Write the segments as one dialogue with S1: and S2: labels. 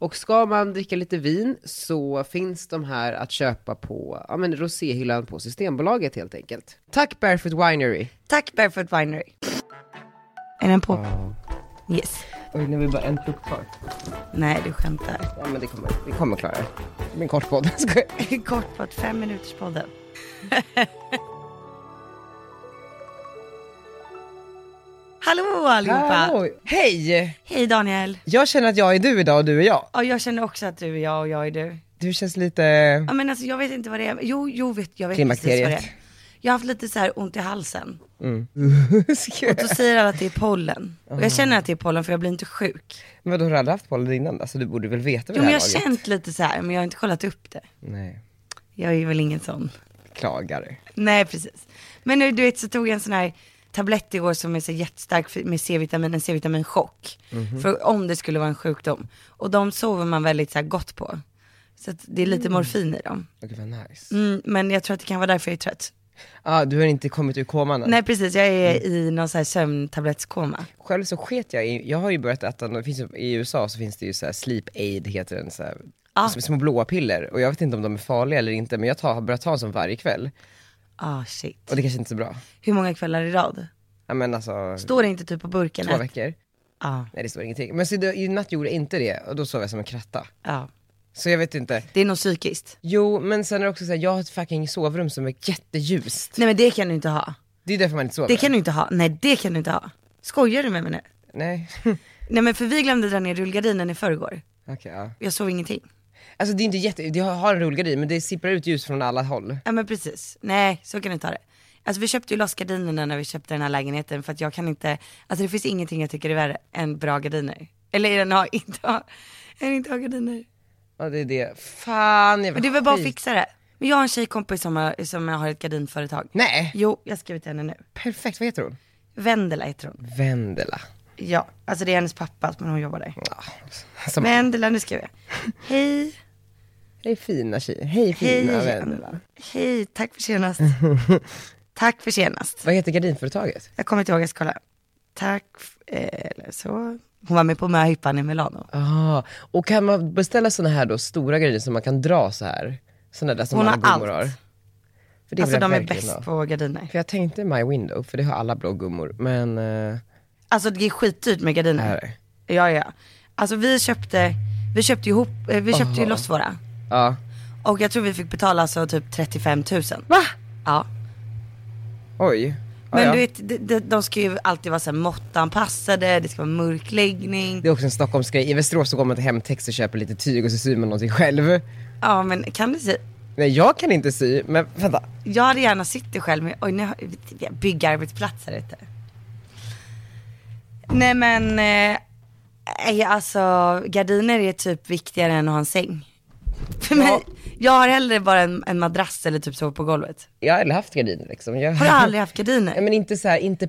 S1: Och ska man dricka lite vin så finns de här att köpa på ja, men roséhyllan på Systembolaget helt enkelt. Tack Barefoot Winery!
S2: Tack Barefoot Winery. Är den på? Yes.
S1: Oj, nu är vi bara en plupp kvar.
S2: Nej, du skämtar.
S1: Ja, men det kommer, vi kommer klara det. Det blir en kort podd. Skojar.
S2: Kort på ett fem minuters podden. Hallå allihopa!
S1: Hallå. Hej!
S2: Hej Daniel!
S1: Jag känner att jag är du idag och du är jag.
S2: Ja, jag känner också att du är jag och jag är du.
S1: Du känns lite...
S2: Ja men alltså jag vet inte vad det är. Jo, jo vet, jag vet precis
S1: Klimakteriet.
S2: vad det är. Jag har haft lite så här ont i halsen.
S1: Skojar.
S2: Då säger alla att det är pollen. Och jag känner att det är pollen för jag blir inte sjuk.
S1: Men vadå, har du aldrig haft pollen innan? Alltså du borde väl veta
S2: Jo
S1: vid
S2: men
S1: det här
S2: jag har
S1: laget?
S2: känt lite så här men jag har inte kollat upp det.
S1: Nej,
S2: Jag är väl ingen sån.
S1: klagar.
S2: Nej precis. Men nu du vet så tog jag en sån här tablett igår som är så jättestark för- med C-vitamin, en C-vitaminchock.
S1: Mhm.
S2: För om det skulle vara en sjukdom. Och de sover man väldigt så här gott på. Så att det är
S1: Mm.
S2: lite morfin i dem.
S1: Åh, Gud vad nice.
S2: Mm, men jag tror att det kan vara därför jag är trött.
S1: Ah, du har inte kommit ur koman än.
S2: Nej precis, jag är
S1: Mm.
S2: i någon så här sömntablettskoma.
S1: Själv så sket jag i, jag har ju börjat äta, det finns, ju- i USA så finns det ju så här sleep aid heter den så här,
S2: Ah.
S1: som små blåa piller. Och jag vet inte om de är farliga eller inte men jag tar, har börjat ta en sån varje kväll.
S2: Ah shit.
S1: Och det kanske inte är så bra.
S2: Hur många kvällar i rad?
S1: Ja men alltså,
S2: Står det inte typ på burken? Ah,
S1: två veckor.
S2: Ja,
S1: Nej det står ingenting. Men så det, i natt gjorde jag inte det och då sov jag som en kratta.
S2: ja.
S1: Så jag vet inte.
S2: Det är nog psykiskt.
S1: Jo men sen är det också såhär, jag har ett fucking sovrum som är jätteljust.
S2: Nej men det kan du inte ha.
S1: Det är därför man inte sover.
S2: Det kan du inte ha. Nej det kan du inte ha. Skojar du med mig nu?
S1: Nej.
S2: Nej men för vi glömde dra ner rullgardinen i förrgår.
S1: Okej ja.
S2: Jag såg ingenting.
S1: Alltså det är inte jätte, det har, har en rullgardin men det sipprar ut ljus från alla håll.
S2: Ja men precis. Nej så kan du inte ha det. Alltså vi köpte ju loss gardinerna när vi köpte den här lägenheten för att jag kan inte, alltså det finns ingenting jag tycker är värre än bra gardiner. Eller är den ha, inte ha, än inte ha gardiner.
S1: Ja det är det. Fan jävla
S2: Men det är väl bara att
S1: skit.
S2: fixa det. Men jag har en tjejkompis som har, som har ett gardinföretag.
S1: Nej.
S2: Jo, jag har skrivit till henne nu.
S1: Perfekt, vad heter hon?
S2: Vendela heter hon.
S1: Vendela.
S2: Ja, alltså det är hennes pappa, men hon jobbar där.
S1: Ja, som,
S2: Vendela, nu skriver jag. Hej,
S1: hej fina tjej, hej
S2: hej
S1: fina Vendela.
S2: Vendela. Hej, tack för senast. tack för senast.
S1: Vad heter gardinföretaget?
S2: Jag kommer inte ihåg, jag ska kolla. Tack, f- eh, eller så. Hon var med på möhippan i Milano.
S1: Ah, och kan man beställa såna här då stora gardiner som man kan dra så här? Såna där som
S2: Hon
S1: alla
S2: har
S1: gummor
S2: allt.
S1: har. För det
S2: Alltså
S1: vill jag
S2: de är
S1: verkligen ha.
S2: bäst på gardiner.
S1: För jag tänkte My Window, för det har alla blå gummor. Men, eh,
S2: Alltså det är skitdyrt med gardiner.
S1: Är det?
S2: Ja, ja. Alltså vi köpte, vi köpte ihop, eh, vi köpte ju loss våra.
S1: ja.
S2: Och jag tror vi fick betala alltså typ 35 000.
S1: Va?
S2: Ja.
S1: Oj. Ja,
S2: Men
S1: ja.
S2: du vet, de, de, de ska ju alltid vara så här måttanpassade, det ska vara mörkläggning.
S1: Det är också en Stockholmsgrej. I Västerås så går man till Hemtex och köper lite tyg och så syr man någonting själv.
S2: Ja men kan du se,
S1: Nej jag kan inte sy, men vänta.
S2: jag hade gärna sytt det själv men oj nu har vi byggarbetsplats här ute. Nej men, eh, nej, alltså gardiner är typ viktigare än att ha en säng. För
S1: Ja.
S2: mig, jag har hellre bara en, en madrass eller typ sover på golvet.
S1: Jag har aldrig haft gardiner liksom. Jag...
S2: Har du aldrig haft
S1: Nej,
S2: gardiner?
S1: men inte så här, inte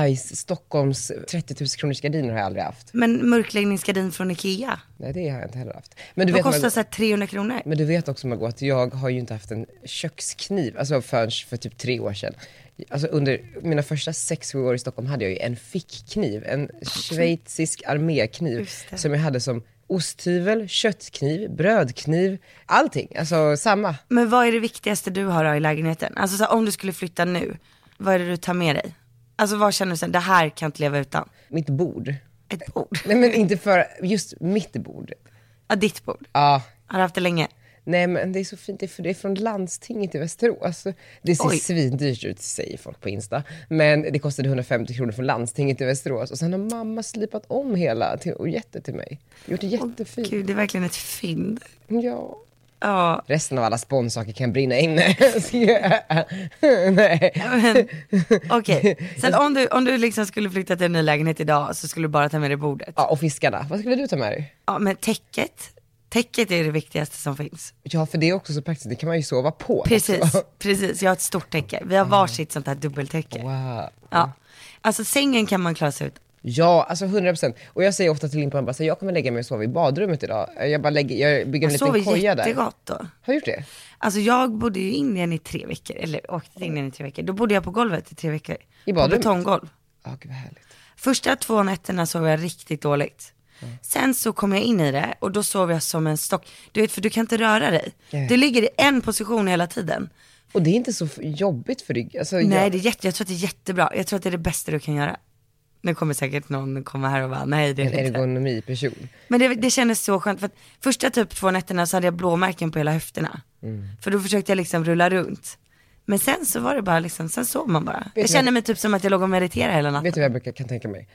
S1: nice Stockholms 30 000 kronors gardiner har jag aldrig haft.
S2: Men mörkläggningsgardin från Ikea,
S1: Nej det har jag inte heller haft. Men du,
S2: de
S1: vet,
S2: kostar
S1: Margot,
S2: såhär 300 kronor.
S1: men du vet också Margot att jag har ju inte haft en kökskniv, alltså förrän för typ tre år sedan. Alltså under mina första sex, sju år i Stockholm hade jag ju en fickkniv, en schweizisk armékniv
S2: Just det.
S1: som jag hade som osthyvel, köttkniv, brödkniv, allting. Alltså samma.
S2: Men vad är det viktigaste du har då i lägenheten? Alltså så här, om du skulle flytta nu, vad är det du tar med dig? Alltså vad känner du sen, det här kan jag inte leva utan?
S1: Mitt bord.
S2: Ett bord?
S1: Nej men inte för, just mitt bord.
S2: Ja, ditt bord.
S1: Ja,
S2: Har du haft det länge?
S1: Nej men det är så fint, det är, för det är från landstinget i Västerås. Det ser
S2: Oj.
S1: svindyrt ut säger folk på Insta. Men det kostade 150 kronor från landstinget i Västerås. Och sen har mamma slipat om hela till, och gett det till mig. Gjort det jättefint.
S2: Gud, det är verkligen ett fynd.
S1: ja.
S2: Ja,
S1: Resten av alla spånsaker kan brinna inne. Så, ja. Nej.
S2: men okej. Sen om du, om du liksom skulle flytta till en ny lägenhet idag så skulle du bara ta med dig bordet.
S1: Ja, och fiskarna. Vad skulle du ta med dig?
S2: Ja, men täcket. Täcket är det viktigaste som finns.
S1: Ja, för det är också så praktiskt. Det kan man ju sova på.
S2: Precis,
S1: också.
S2: precis. Jag har ett stort täcke. Vi
S1: Mm.
S2: har varsitt sånt här dubbeltäcke.
S1: Wow.
S2: Ja. Alltså sängen kan man klara sig ut.
S1: Ja, alltså 100%. Och jag säger ofta till Limpan, bara, så här, jag kommer lägga mig och sova i badrummet idag. Jag bara lägger, jag bygger en
S2: Jag sover
S1: liten koja där. Har
S2: jättegott då.
S1: du gjort det?
S2: Alltså jag bodde ju i Indien i tre veckor, eller åkte till Indien i tre veckor. Då bodde jag på golvet i tre veckor.
S1: I
S2: på
S1: badrummet?
S2: betonggolv.
S1: Ja, gud vad härligt.
S2: Första två nätterna sov jag riktigt dåligt.
S1: Mm.
S2: Sen så kom jag in i det och då sov jag som en stock. Du vet för du kan inte röra dig.
S1: Nej.
S2: Du ligger i en position hela tiden.
S1: Och det är inte så f- jobbigt för ryggen. Alltså,
S2: Nej,
S1: jag-
S2: det är jätte, jag tror att det är jättebra. Jag tror att det är det bästa du kan göra. Nu kommer säkert någon komma här och bara, nej det är
S1: en
S2: det inte.
S1: ergonomiperson.
S2: Men det, det kändes så skönt för att första typ två nätterna så hade jag blåmärken på hela höfterna.
S1: Mm.
S2: För då försökte jag liksom rulla runt. Men sen så var det bara liksom, sen sov man bara.
S1: du
S2: jag kände mig typ som att jag låg och mediterade hela natten.
S1: Vet du vad jag brukar, kan tänka mig?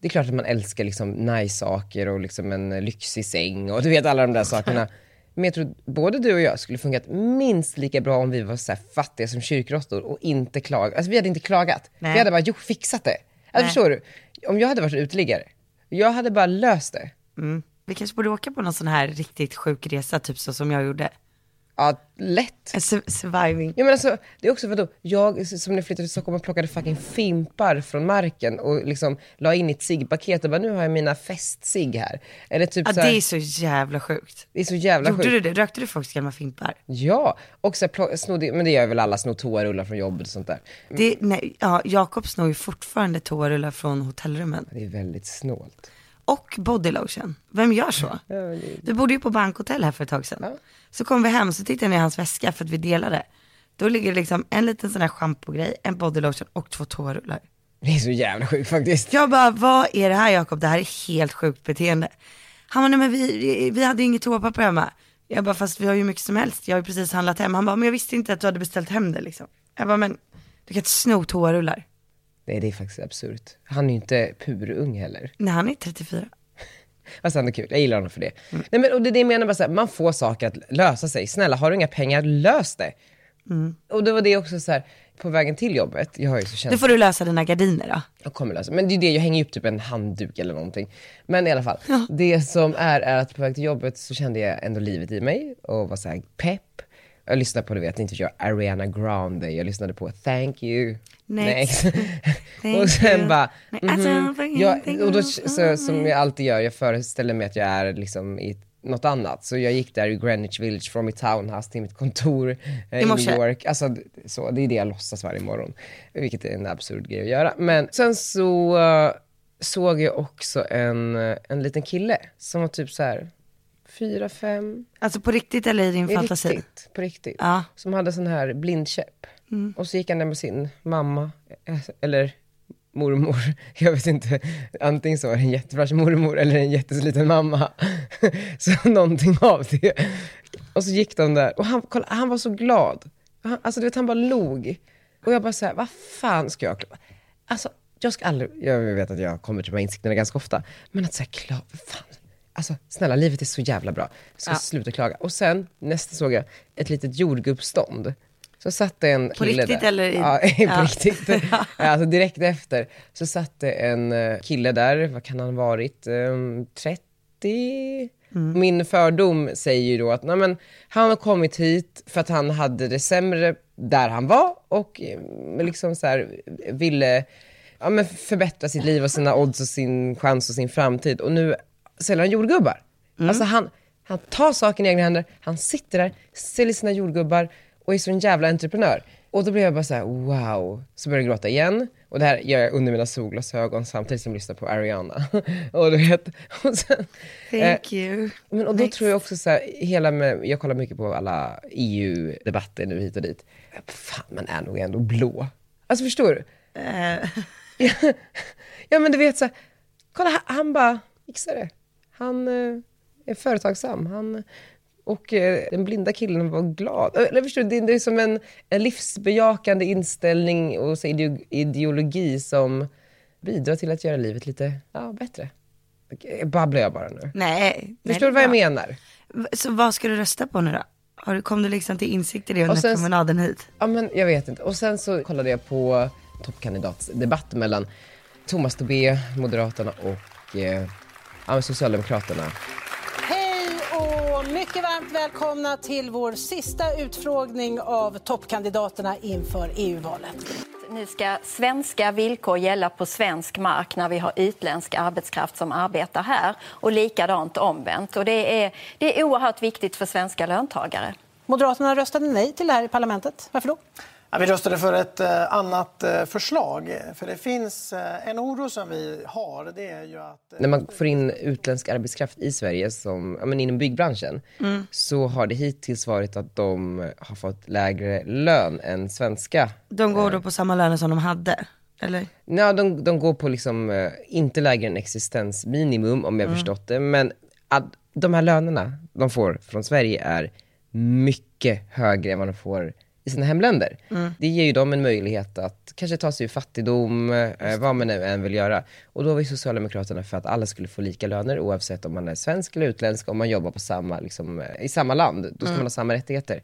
S1: Det är klart att man älskar liksom nice saker och liksom en eh, lyxig säng och du vet alla de där sakerna. Men jag tror både du och jag skulle funkat minst lika bra om vi var så här fattiga som kyrkråttor och inte klagat. Alltså vi hade inte klagat.
S2: Nej.
S1: Vi hade bara gjort, fixat det. Alltså,
S2: Nej.
S1: förstår du? Om jag hade varit uteliggare, jag hade bara löst det.
S2: Mm. Vi kanske borde åka på någon sån här riktigt sjuk resa, typ så som jag gjorde.
S1: Ja, lätt.
S2: En su- Surviving.
S1: Ja, men alltså, det är också för att jag som när jag flyttade till Stockholm och plockade fucking fimpar från marken och liksom la in i ett ciggpaket och bara nu har jag mina festsig här. Eller typ
S2: Ja,
S1: så här,
S2: det är så jävla sjukt.
S1: Det är så jävla
S2: Gjorde
S1: sjukt.
S2: du det? Rökte du folks gamla fimpar?
S1: Ja, och så här, plock- snodde, men det gör väl alla, snor toarullar från jobbet och sånt där.
S2: Det, nej, ja, Jakob snor ju fortfarande toarullar från hotellrummen.
S1: Det är väldigt snålt.
S2: Och bodylotion. Vem gör så? Vi bodde ju på bankhotell här för ett tag sedan. Så kom vi hem, så tittade jag ner i hans väska för att vi delade. Då ligger det liksom en liten sån här schampogrej, en bodylotion och två toarullar.
S1: Det är så jävla sjukt faktiskt.
S2: Jag bara, vad är det här Jakob? Det här är helt sjukt beteende. Han bara, nej men vi, vi hade ju inget toapapper hemma. Jag bara, fast vi har ju mycket som helst. Jag har ju precis handlat hem. Han bara, men jag visste inte att du hade beställt hem det liksom. Jag bara, men du kan inte sno toarullar.
S1: Nej, det är faktiskt absurt. Han är ju inte purung heller.
S2: Nej, han är 34.
S1: Fast ändå kul, jag gillar honom för det. Nej, men, och det är det jag menar, bara så här, man får saker att lösa sig. Snälla, har du inga pengar, lös det. Och det var det också så här, på vägen till jobbet, jag har ju så
S2: Nu
S1: känsligt,
S2: får du lösa dina gardiner då.
S1: jag kommer lösa Men det är ju det, jag hänger ju upp typ en handduk eller någonting. Men i alla fall, det som är, är att på väg till jobbet så kände jag ändå livet i mig och var så här pepp. Jag lyssnade på, du vet, inte jag, Ariana Grande, jag lyssnade på Thank you.
S2: Next. Thank
S1: och sen
S2: you.
S1: bara,
S2: Nej, alltså,
S1: mhm.
S2: fucking thank
S1: jag, och då,
S2: you.
S1: så, som jag alltid gör, jag föreställer mig att jag är liksom i något annat. Så jag gick där i Greenwich Village från mitt townhouse till mitt kontor eh, i
S2: morse.
S1: New York. Alltså, d- så, det är det jag låtsas varje morgon, vilket är en absurd grej att göra. Men sen så eh, såg jag också en, eh, en liten kille som var typ så här fyra, fem,
S2: Alltså på riktigt eller i din
S1: på
S2: fantasi?
S1: riktigt, på riktigt.
S2: Ja.
S1: Som hade sån här blindkäpp. Och så gick han där med sin mamma, eh, eller mormor. Jag vet inte. Antingen så var det en jättefräsch mormor eller en jättesliten mamma. Så någonting av det. Och så gick de där. Och han, kolla, han var så glad. Han, alltså du vet, han bara log. Och jag bara så här, vad fan ska jag... Alltså, jag ska aldrig... Jag vet att jag kommer till de här insikterna ganska ofta. Men att säga klart, fan. Alltså snälla, livet är så jävla bra. Jag ska
S2: Ja.
S1: sluta klaga. Och sen, nästa såg jag ett litet jordgubbsstånd. Så satt det en
S2: På
S1: kille
S2: riktigt
S1: där.
S2: eller i-
S1: Ja, på
S2: Ja.
S1: riktigt. Ja, Alltså direkt efter så satt det en eh, kille där, vad kan han ha varit, Ehm, 30? Min fördom säger ju då att nej, men, han har kommit hit för att han hade det sämre där han var och eh, liksom så här, ville ja, men förbättra sitt liv och sina odds och sin chans och sin framtid. Och nu säljer han jordgubbar. Alltså han, han tar saken i egna händer, han sitter där, säljer sina jordgubbar och är så en jävla entreprenör. Och då blev jag bara så här: wow. Så började jag gråta igen. Och det här gör jag under mina solglasögon samtidigt som jag lyssnar på Ariana. och du vet, och sen, Eh,
S2: Thank you.
S1: men, och då
S2: Next.
S1: tror jag också så här, hela med, jag kollar mycket på alla EU-debatter nu hit och dit. Fan, man är nog ändå blå. Alltså förstår du?
S2: Eh,
S1: ja men du vet så här, kolla han- han bara fixar det. Han eh, är företagsam. Han, och eh, den blinda killen var glad. Eh, Eller förstår du, det, det är som en, en livsbejakande inställning och så ideo- ideologi som bidrar till att göra livet lite ja, bättre. Okej, eh, Babblar jag bara nu?
S2: Nej. nej,
S1: Förstår du
S2: det
S1: vad
S2: är
S1: jag
S2: bra.
S1: menar?
S2: V- Så vad ska du rösta på nu då? Har du, kom du liksom till insikt i det
S1: Och
S2: under
S1: sen-
S2: promenaden hit?
S1: Ja, men jag vet inte. Och sen så kollade jag på toppkandidatsdebatt mellan Thomas Tobé, Moderaterna och eh, ja, men Socialdemokraterna.
S3: Hej och mycket varmt välkomna till vår sista utfrågning av toppkandidaterna inför E EU-valet.
S4: Nu ska svenska villkor gälla på svensk mark när vi har utländsk arbetskraft som arbetar här och likadant omvänt. Och det, är, det är oerhört viktigt för svenska löntagare.
S3: Moderaterna röstade nej till det här i parlamentet. Varför då?
S5: Ja, vi röstade för ett eh, annat eh, förslag. För det finns eh, en oro som vi har. Det är ju att... eh,
S1: När man får in utländsk arbetskraft i Sverige, som, ja, men inom byggbranschen, så har det hittills varit att de har fått lägre lön än svenska.
S2: De
S1: Eh.
S2: går då på samma löner som de hade, eller?
S1: Ja, de, de går på liksom, eh, inte lägre än existensminimum om jag förstått det, men att de här lönerna de får från Sverige är mycket högre än vad de får i sina hemländer. Det ger ju dem en möjlighet att kanske ta sig ur fattigdom, eh, vad man nu än vill göra. Och då var ju Socialdemokraterna för att alla skulle få lika löner oavsett om man är svensk eller utländsk, om man jobbar på samma, liksom, eh, i samma land, då ska man ha samma rättigheter.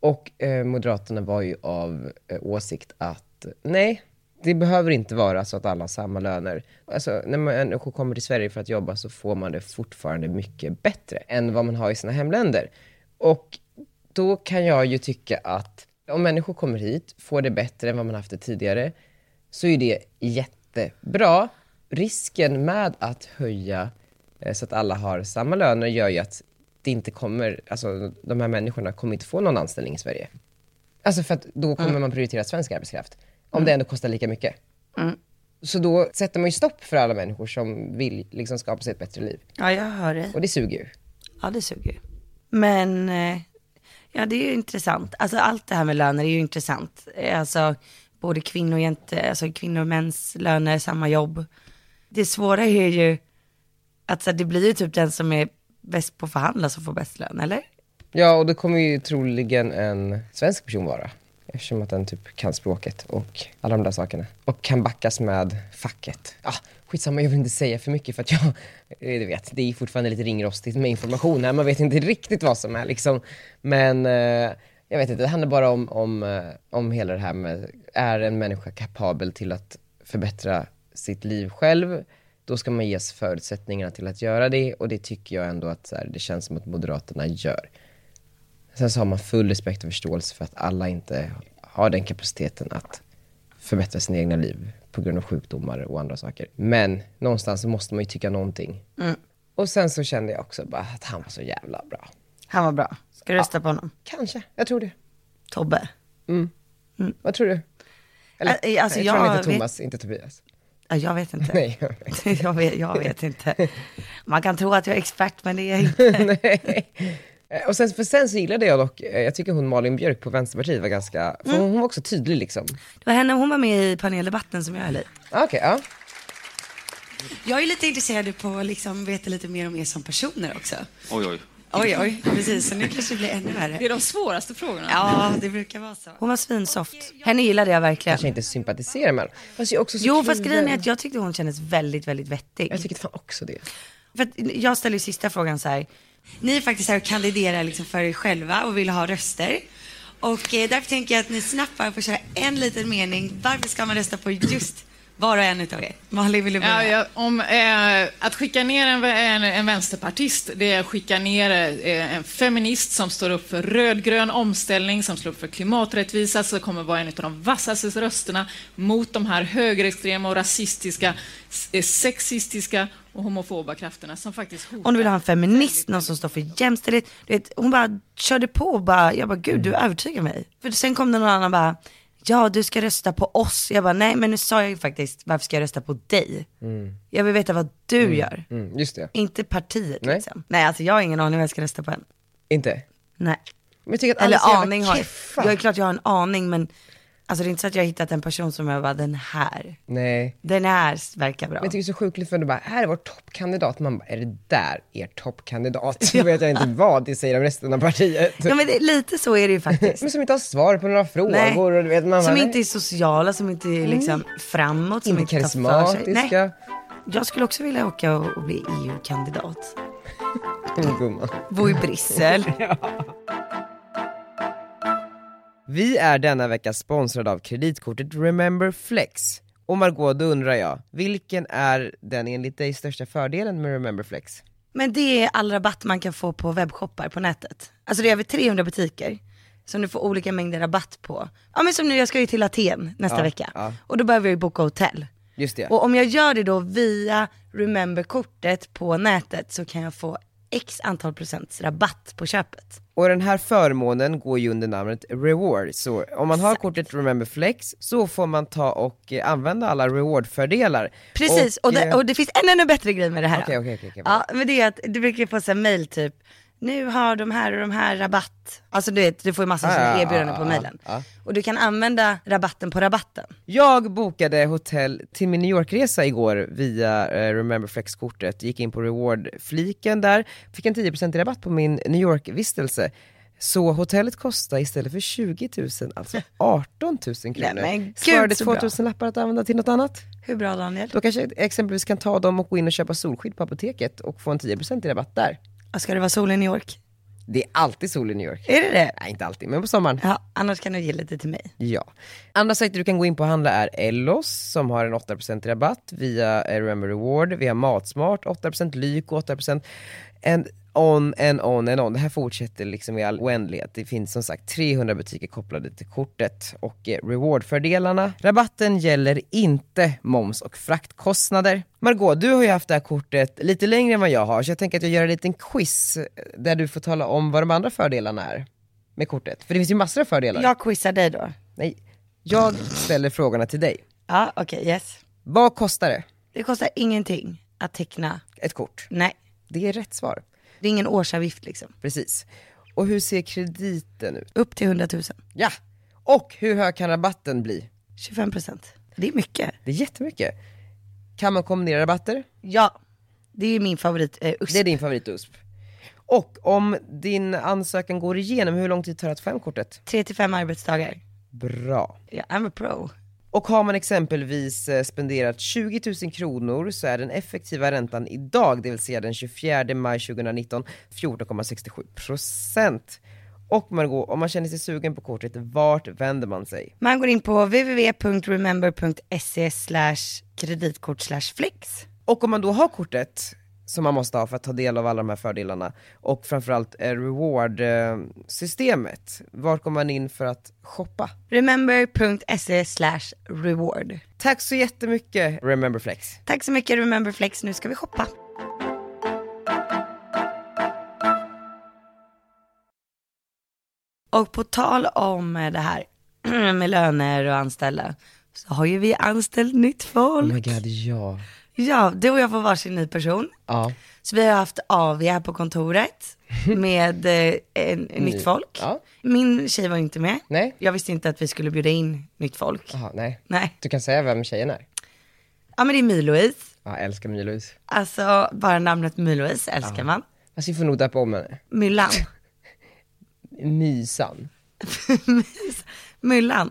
S1: Och eh, Moderaterna var ju av eh, åsikt att nej, det behöver inte vara så att alla har samma löner. Alltså, när människor kommer till Sverige för att jobba så får man det fortfarande mycket bättre än vad man har i sina hemländer. Och då kan jag ju tycka att om människor kommer hit, får det bättre än vad man haft det tidigare, så är det jättebra. Risken med att höja eh, så att alla har samma löner gör ju att det inte kommer, alltså de här människorna kommer inte få någon anställning i Sverige. Alltså för att då kommer man prioritera svensk arbetskraft, om det ändå kostar lika mycket. Så då sätter man ju stopp för alla människor som vill liksom skapa sig ett bättre liv.
S2: Ja, jag hör dig.
S1: Och det suger ju.
S2: Ja, det suger ju. Men, eh, ja det är ju intressant. Alltså allt det här med löner är ju intressant. Eh, Alltså både kvinnor och, jente, alltså, kvinnor och mäns löner, samma jobb. Det svåra är ju att så, här, det blir ju typ den som är bäst på att förhandla som får bäst lön, eller?
S1: Ja, och det kommer ju troligen en svensk person vara. Eftersom att den typ kan språket och alla de där sakerna. Och kan backas med facket. Ah, skitsamma, jag vill inte säga för mycket för att jag, eh, du vet, det är fortfarande lite ringrostigt med information här. Man vet inte riktigt vad som är liksom. Men eh, jag vet inte, det handlar bara om, om, eh, om hela det här med, är en människa kapabel till att förbättra sitt liv själv? då ska man ges förutsättningarna till att göra det och det tycker jag ändå att så här, det känns som att Moderaterna gör. Sen så har man full respekt och förståelse för att alla inte har den kapaciteten att förbättra sina egna liv på grund av sjukdomar och andra saker. Men någonstans så måste man ju tycka någonting.
S2: Mm.
S1: Och sen så kände jag också bara att han var så jävla bra.
S2: Han var bra. Ska du rösta på honom?
S1: Kanske, jag tror det.
S2: Tobbe?
S1: Vad tror du? Eller,
S2: Mm. Ä- alltså,
S1: jag tror han
S2: jag
S1: heter
S2: vet-
S1: Thomas, inte Tobias.
S2: Ja, jag vet inte.
S1: Nej, jag
S2: jag, vet, jag vet inte. Man kan tro att jag är expert, men det är jag inte.
S1: Nej. Eh, Och sen, för sen så gillade jag dock, eh, jag tycker hon Malin Björk på Vänsterpartiet var ganska,
S2: Mm.
S1: för hon, hon var också tydlig liksom.
S2: Det var henne, hon var med i paneldebatten som jag höll i.
S1: Ah, Okej, ja.
S6: Jag är lite intresserad på att liksom veta lite mer om er som personer också.
S7: Oj, oj.
S6: Oj, oj, precis. Så nu kanske det blir ännu
S8: Det
S6: värre.
S8: är de svåraste frågorna.
S6: Ja, det brukar vara så.
S2: Hon var svinsoft. Henne gillade jag verkligen.
S1: Kanske inte sympatiserar med honom. Fast jag är också så
S2: Jo,
S1: kluven.
S2: fast grejen är att jag tyckte hon kändes väldigt, väldigt vettig.
S1: Jag tycker fan också det.
S2: För att jag ställer ju sista frågan så här.
S6: Ni är faktiskt här och kandiderar liksom för er själva och vill ha röster. Och eh, därför tänker jag att ni snabbt bara får köra en liten mening. Varför ska man rösta på just var och en utav er? Malin, vill du
S8: Ja,
S6: börja?
S8: ja, om, eh, att skicka ner en, en, en vänsterpartist, det är att skicka ner eh, en feminist som står upp för rödgrön omställning, som står upp för klimaträttvisa, som kommer vara en av de vassaste rösterna mot de här högerextrema och rasistiska, s- eh, sexistiska och homofoba krafterna som faktiskt hotar.
S2: Om du vill ha en feminist, någon som står för jämställdhet. Du vet, hon bara körde på och bara, jag bara gud
S8: Mm.
S2: du övertygar mig. För sen kom det någon annan och bara, ja du ska rösta på oss. Jag bara nej men nu sa jag ju faktiskt, varför ska jag rösta på dig?
S8: Mm.
S2: Jag vill veta vad du gör.
S1: Mm, just det.
S2: Inte partiet
S1: Nej.
S2: liksom. Nej alltså jag har ingen aning vad jag ska rösta på än.
S1: Inte?
S2: Nej.
S1: Men jag tycker att alla
S2: Eller
S1: är så jävla
S2: aning har jag.
S1: keffa.
S2: Jag är klart jag har en aning men alltså det är inte så att jag har hittat en person som jag bara den här,
S1: Nej.
S2: den här verkar bra.
S1: Men jag tycker det är så sjukligt för de bara, här är vår toppkandidat. Man bara, är det där er toppkandidat? Då vet jag inte vad det säger om resten av partiet.
S2: Ja men det, lite så är det ju faktiskt.
S1: Men som inte har svar på några frågor.
S2: Nej.
S1: Och, du vet, man
S2: Som
S1: bara,
S2: inte är sociala, som inte är liksom framåt, som
S1: inte
S2: inte, tar för sig.
S1: karismatiska.
S2: Nej. Jag skulle också vilja åka och, och bli EU-kandidat.
S1: Gumman.
S2: E Bo i Bryssel.
S1: Vi är denna vecka sponsrade av kreditkortet Remember Flex. Och Margot, då undrar jag, vilken är den enligt dig största fördelen med Remember Flex?
S2: Men det är all rabatt man kan få på webbshoppar på nätet. Alltså det är över 300 butiker som du får olika mängder rabatt på. Ja men som nu, jag ska ju till Aten nästa
S1: Ja,
S2: vecka.
S1: ja.
S2: Och då behöver jag ju boka hotell.
S1: Just det.
S2: Och om jag gör det då via Remember-kortet på nätet så kan jag få x antal procents rabatt på köpet.
S1: Och den här förmånen går ju under namnet reward, så om man har kortet Remember Flex så får man ta och eh, använda alla rewardfördelar.
S2: Precis, och, det,
S1: eh,
S2: och det finns en ännu bättre grej med det här.
S1: Okej, okej, okej, okej.
S2: Ja, men det är att du brukar få så här mail typ, nu har de här och de här rabatt. Alltså du vet, du får ju massa
S1: Ja,
S2: sådana
S1: ja,
S2: erbjudanden
S1: ja,
S2: på
S1: ja,
S2: mailen.
S1: ja.
S2: Och du kan använda rabatten på rabatten.
S1: Jag bokade hotell till min New York-resa igår via eh, Remember Flex-kortet, gick in på reward-fliken där, fick en 10% rabatt på min New York-vistelse. Så hotellet kostade istället för 20 000, alltså 18 000 kronor.
S2: Nej, men gud,
S1: Sparade
S2: så
S1: 2
S2: bra.
S1: 000 lappar att använda till något annat.
S2: Hur bra Daniel?
S1: Då kanske jag exempelvis kan ta dem och gå in och köpa solskydd på apoteket och få en 10% i rabatt där.
S2: Ja, Ska det vara sol i New York?
S1: Det är alltid sol i New York.
S2: Är det det?
S1: Nej, inte alltid, men på sommaren.
S2: Ja, annars kan du ge lite till mig.
S1: Ja. Andra sajter du kan gå in på och handla är Ellos som har en 8% rabatt via eh, Remember Reward, vi har Matsmart 8%, Lyko 8%, and on and on and on. Det här fortsätter liksom i all oändlighet. Det finns som sagt 300 butiker kopplade till kortet och eh, rewardfördelarna. Rabatten gäller inte moms och fraktkostnader. Margot, du har ju haft det här kortet lite längre än vad jag har, så jag tänker att jag gör en liten quiz eh, där du får tala om vad de andra fördelarna är med kortet. För det finns ju massor av fördelar.
S2: Jag quizar dig då.
S1: Nej, jag ställer frågorna till dig.
S2: Ja, okej, yes.
S1: Vad kostar det?
S2: Det kostar ingenting att teckna,
S1: Ett kort.
S2: nej.
S1: Det är rätt svar.
S2: Det är ingen årsavgift liksom.
S1: Precis. Och hur ser krediten ut?
S2: Upp till 100 000,
S1: Ja! Och hur hög kan rabatten bli?
S2: 25 procent. Det är mycket.
S1: Det är jättemycket. Kan man kombinera rabatter?
S2: Ja, det är min favorit, eh, USP.
S1: Det är din favoritusp. Och om din ansökan går igenom, hur lång tid tar det att få hem kortet?
S2: 3-5 arbetsdagar.
S1: Bra.
S2: Ja, I'm a pro.
S1: Och har man exempelvis eh, spenderat 20 000 kronor så är den effektiva räntan idag, det vill säga den 24 maj 2019, 14,67 procent. Och Margot, om man känner sig sugen på kortet, vart vänder man sig?
S2: Man går in på www.remember.se kreditkort flex.
S1: Och om man då har kortet, som man måste ha för att ta del av alla de här fördelarna, och framförallt eh, reward-systemet, vart kommer man in för att shoppa?
S2: Remember.se reward.
S1: Tack så jättemycket Remember Flex!
S2: Tack så mycket Remember Flex, nu ska vi shoppa. Och på tal om eh, det här med löner och anställda, så har ju vi anställt nytt folk.
S1: Oh my god, ja.
S2: Ja, du och jag får varsin ny person.
S1: Ja.
S2: Så vi har haft AV här på kontoret med eh, en, nytt folk.
S1: Ja.
S2: Min tjej var inte med.
S1: Nej.
S2: Jag visste inte att vi skulle bjuda in nytt folk.
S1: Jaha, nej.
S2: Nej.
S1: Du kan säga vem tjejen är?
S2: Ja men det är My-Louise.
S1: Ja, jag älskar Milos.
S2: Alltså bara namnet My-Louise älskar man.
S1: Alltså vi får nog döpa om henne.
S2: Myllan.
S1: Mysan.
S2: Myllan.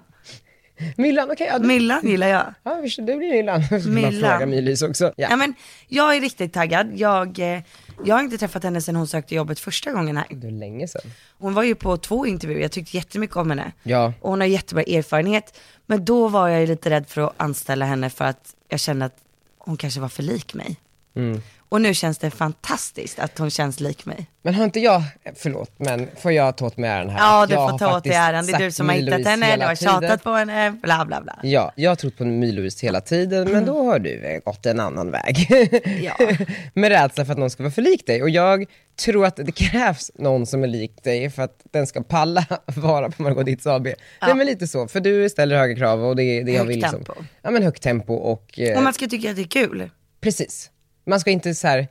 S1: Myllan, okej. ja, du-
S2: Myllan gillar jag.
S1: ja, visst, det blir Myllan. Jag ska bara
S2: Myllan.
S1: fråga Mylis också. Ja.
S2: Ja men jag är riktigt taggad. Jag, eh, jag har inte träffat henne sedan hon sökte jobbet första gången här.
S1: Det är länge sedan.
S2: Hon var ju på två intervjuer, jag tyckte jättemycket om henne.
S1: Ja.
S2: Och hon har jättebra erfarenhet. Men då var jag ju lite rädd för att anställa henne för att jag kände att hon kanske var för lik mig.
S1: Mm.
S2: Och nu känns det fantastiskt att hon känns lik mig.
S1: Men har inte jag, förlåt, men får jag ta åt mig äran här?
S2: Ja, du
S1: jag
S2: får ta åt dig äran. Det är du som har hittat henne, du har tjatat på henne, bla bla bla.
S1: Ja, jag har trott på Mylis hela tiden, men då har du eh, gått en annan väg.
S2: Mm. Ja.
S1: Med rädsla för att någon ska vara för lik dig. Och jag tror att det krävs någon som är lik dig för att den ska palla vara på Margot Dietz AB. Nej men lite så, för du ställer höga krav och det, det har vi
S2: Högt
S1: liksom.
S2: tempo.
S1: Ja men högt tempo och... eh,
S2: Och man ska tycka att det är kul.
S1: Precis. Man ska inte så här,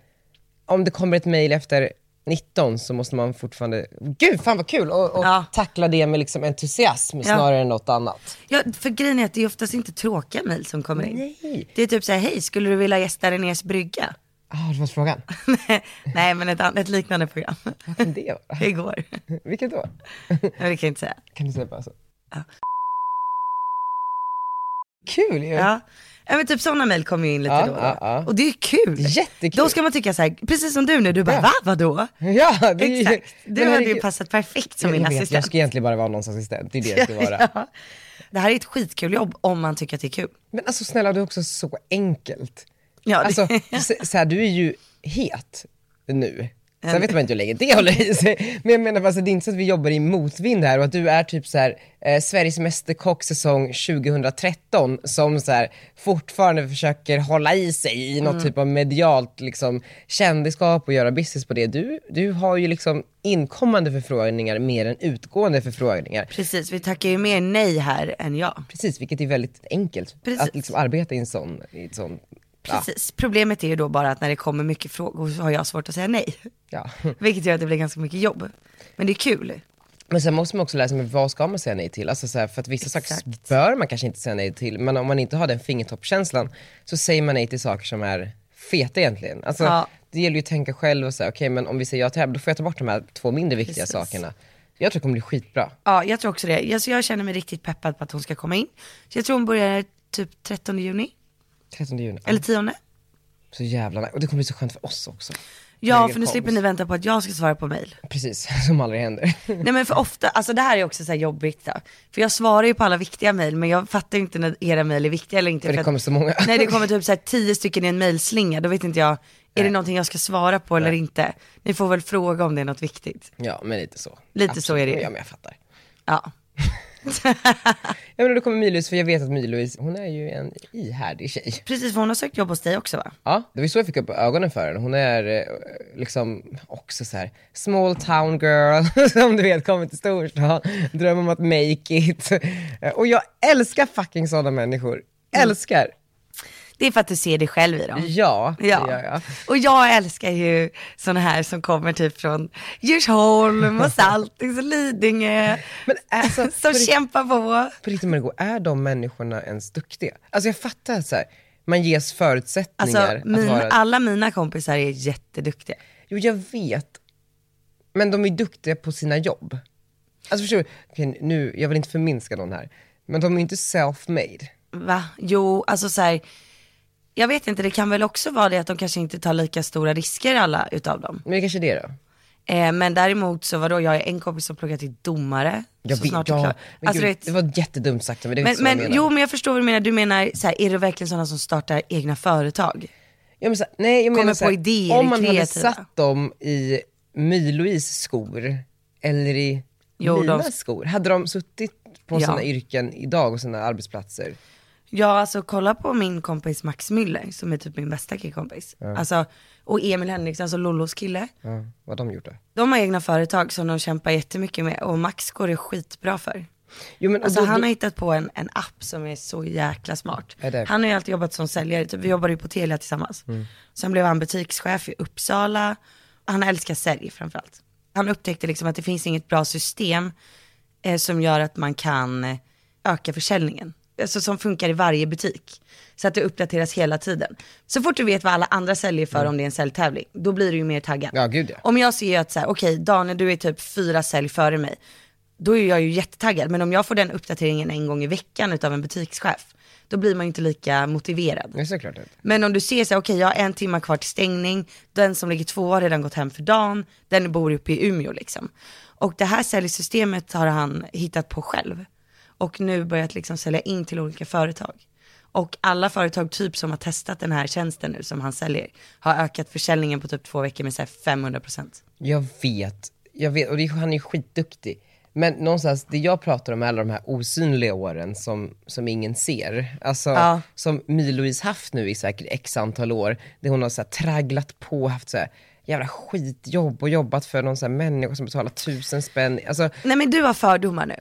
S1: om det kommer ett mejl efter 19 så måste man fortfarande, gud fan vad kul, och, och
S2: Ja.
S1: tackla det med liksom entusiasm snarare än något annat.
S2: Ja, för grejen är att det är oftast inte tråkiga mejl som kommer in.
S1: Nej.
S2: Det är typ såhär, hej, skulle du vilja gästa Renés brygga?
S1: Ah, det var frågan.
S2: Nej, men ett, an- ett liknande program.
S1: Vad kan det vara?
S2: Det går.
S1: Vilket då?
S2: Ja, det kan jag inte säga.
S1: Kan du säga bara så? Kul ju!
S2: Ja. Ja, men typ sådana mejl kommer ju in lite
S1: Ja,
S2: då.
S1: ja, ja.
S2: Och det är ju kul.
S1: Jättekul.
S2: Då ska man tycka så här, precis som du nu, du bara va, vadå?
S1: Ja, det är ju-
S2: Exakt.
S1: Men
S2: Du hade ju
S1: herregud.
S2: passat perfekt som
S1: jag
S2: min
S1: vet, Jag
S2: assistent.
S1: ska egentligen bara vara någons assistent, det är det jag ska vara.
S2: Ja. Det här är ett skitkul jobb om man tycker att det är kul.
S1: Men alltså snälla, det är också så enkelt.
S2: Ja, det-
S1: Alltså, så, så här, du är ju het nu. Sen vet man inte hur länge det håller i sig. Men jag menar, alltså, det är inte så att vi jobbar i motvind här och att du är typ så här, eh, Sveriges Mästerkock säsong 2013 som så här, fortfarande försöker hålla i sig i något
S2: Mm.
S1: typ av medialt liksom, kändisskap och göra business på det. Du, du har ju liksom inkommande förfrågningar mer än utgående förfrågningar.
S2: Precis, vi tackar ju mer nej här än ja.
S1: Precis, vilket är väldigt enkelt
S2: Precis.
S1: att liksom arbeta i en sån, i ett sån ja,
S2: Precis, problemet är ju då bara att när det kommer mycket frågor så har jag svårt att säga nej.
S1: ja.
S2: Vilket gör att det blir ganska mycket jobb. Men det är kul.
S1: Men sen måste man också lära sig, men vad ska man säga nej till? Alltså så här, för att vissa saker
S2: Exakt.
S1: bör man kanske inte säga nej till, men om man inte har den fingertoppkänslan så säger man nej till saker som är feta egentligen. Alltså,
S2: Ja.
S1: Det gäller ju att tänka själv och säga, okej men om vi säger ja till det här, då får jag ta bort de här två mindre viktiga
S2: Precis.
S1: sakerna. Jag tror det kommer bli skitbra.
S2: Ja, jag tror också det. Jag, så jag känner mig riktigt peppad på att hon ska komma in. Så jag tror hon börjar typ 13 juni,
S1: 13 juni.
S2: eller 10.
S1: Så jävla nice. Och det kommer bli så skönt för oss också.
S2: Ja,
S1: Egen
S2: för nu slipper
S1: konst.
S2: ni vänta på att jag ska svara på mail.
S1: Precis, som aldrig händer.
S2: Nej men för ofta, alltså det här är också så här jobbigt då. För jag svarar ju på alla viktiga mail men jag fattar ju inte när era mail är viktiga eller inte.
S1: För det
S2: att-
S1: kommer så många.
S2: Nej det kommer typ så här tio stycken i en mailslinga, då vet inte jag, är det någonting jag ska svara på eller inte? Ni får väl fråga om det är något viktigt.
S1: Ja, men lite så.
S2: Lite så är det ju.
S1: Ja, men jag fattar.
S2: Ja.
S1: Ja, men då kommer My-Louise, för jag vet att My-Louise, hon är ju en ihärdig tjej.
S2: Precis för hon har sökt jobb hos dig också va?
S1: Ja, det var ju så jag fick upp ögonen för henne. Hon är eh, liksom också så här small town girl, som du vet kommer till storstad, drömmer om att make it. Eh, Och jag älskar fucking sådana människor.
S2: Mm.
S1: Älskar!
S2: Det är för att du ser dig själv i dem.
S1: Ja, det
S2: Ja.
S1: gör jag.
S2: och jag älskar ju sådana här som kommer typ från Djursholm och Saltings och Lidingö.
S1: Men alltså,
S2: som
S1: på rikt-
S2: kämpar på.
S1: På riktigt Margot, är de människorna ens duktiga? Alltså jag fattar så här, man ges förutsättningar
S2: Alltså min,
S1: att vara...
S2: alla mina kompisar är jätteduktiga.
S1: Jo, jag vet. Men de är duktiga på sina jobb. Alltså förstår du? Okej, nu, jag vill inte förminska någon här. Men de är ju inte self-made.
S2: Va? Jo, alltså så här, jag vet inte, det kan väl också vara det att de kanske inte tar lika stora risker alla utav dem.
S1: Men det kanske är det då.
S2: Eh, men däremot så vadå, jag har en kompis som pluggar till domare.
S1: Jag
S2: så
S1: vet,
S2: snart
S1: ja.
S2: är klar.
S1: Men
S2: Alltså,
S1: gud,
S2: du vet,
S1: det var jättedumt sagt men det är
S2: men,
S1: inte så jag
S2: men
S1: menar.
S2: jo men jag förstår vad du menar, du menar så här, är det verkligen sådana som startar egna företag?
S1: Ja, men så, här, nej, jag
S2: Kommer
S1: menar så här,
S2: på idéer,
S1: om man hade
S2: kreativa.
S1: satt dem i My-Louise skor eller i
S2: Jo,
S1: mina
S2: de-
S1: skor, hade de suttit på
S2: Ja.
S1: sina yrken idag och sina arbetsplatser?
S2: Ja alltså kolla på min kompis Max Müller som är typ min bästa killkompis. Alltså, och Emil Henriksson, alltså Lollos kille.
S1: Ja, vad har de gjort då?
S2: De har egna företag som de kämpar jättemycket med och Max går det skitbra för.
S1: Jo, men, och
S2: Alltså
S1: då-
S2: han
S1: då-
S2: har hittat på en, en app som är så jäkla smart.
S1: Är det- Mm.
S2: Han har ju alltid jobbat som säljare, typ, vi jobbade ju på Telia tillsammans. Sen blev han butikschef i Uppsala. Han älskar sälj framförallt. Han upptäckte liksom att det finns inget bra system eh, som gör att man kan eh, öka försäljningen. Alltså som funkar i varje butik. Så att det uppdateras hela tiden. Så fort du vet vad alla andra säljer för om det är en säljtävling, då blir du ju mer taggad.
S1: Mm. Ja, gud, ja.
S2: Om jag ser att så här, okej Daniel du är typ fyra sälj före mig, då är jag ju jättetaggad. Men om jag får den uppdateringen en gång i veckan utav en butikschef, då blir man ju inte lika motiverad.
S1: Ja, såklart inte.
S2: Men om du ser så här, okej jag har en timma kvar till stängning, den som ligger två har redan gått hem för dagen, den bor uppe i Umeå liksom. Och det här säljsystemet har han hittat på själv. Och nu börjat liksom sälja in till olika företag. Och alla företag typ som har testat den här tjänsten nu som han säljer, har ökat försäljningen på typ två veckor med så här 500%.
S1: Jag vet, jag vet, och det, är- han är ju skitduktig. Men någonstans, det jag pratar om är alla de här osynliga åren som, som ingen ser. Alltså,
S2: Ja.
S1: som My-Louise haft nu i säkert x antal år, där hon har så här tragglat på, haft så här jävla skitjobb och jobbat för någon så här människa som betalar tusen spänn. Alltså,
S2: Nej men du har fördomar nu.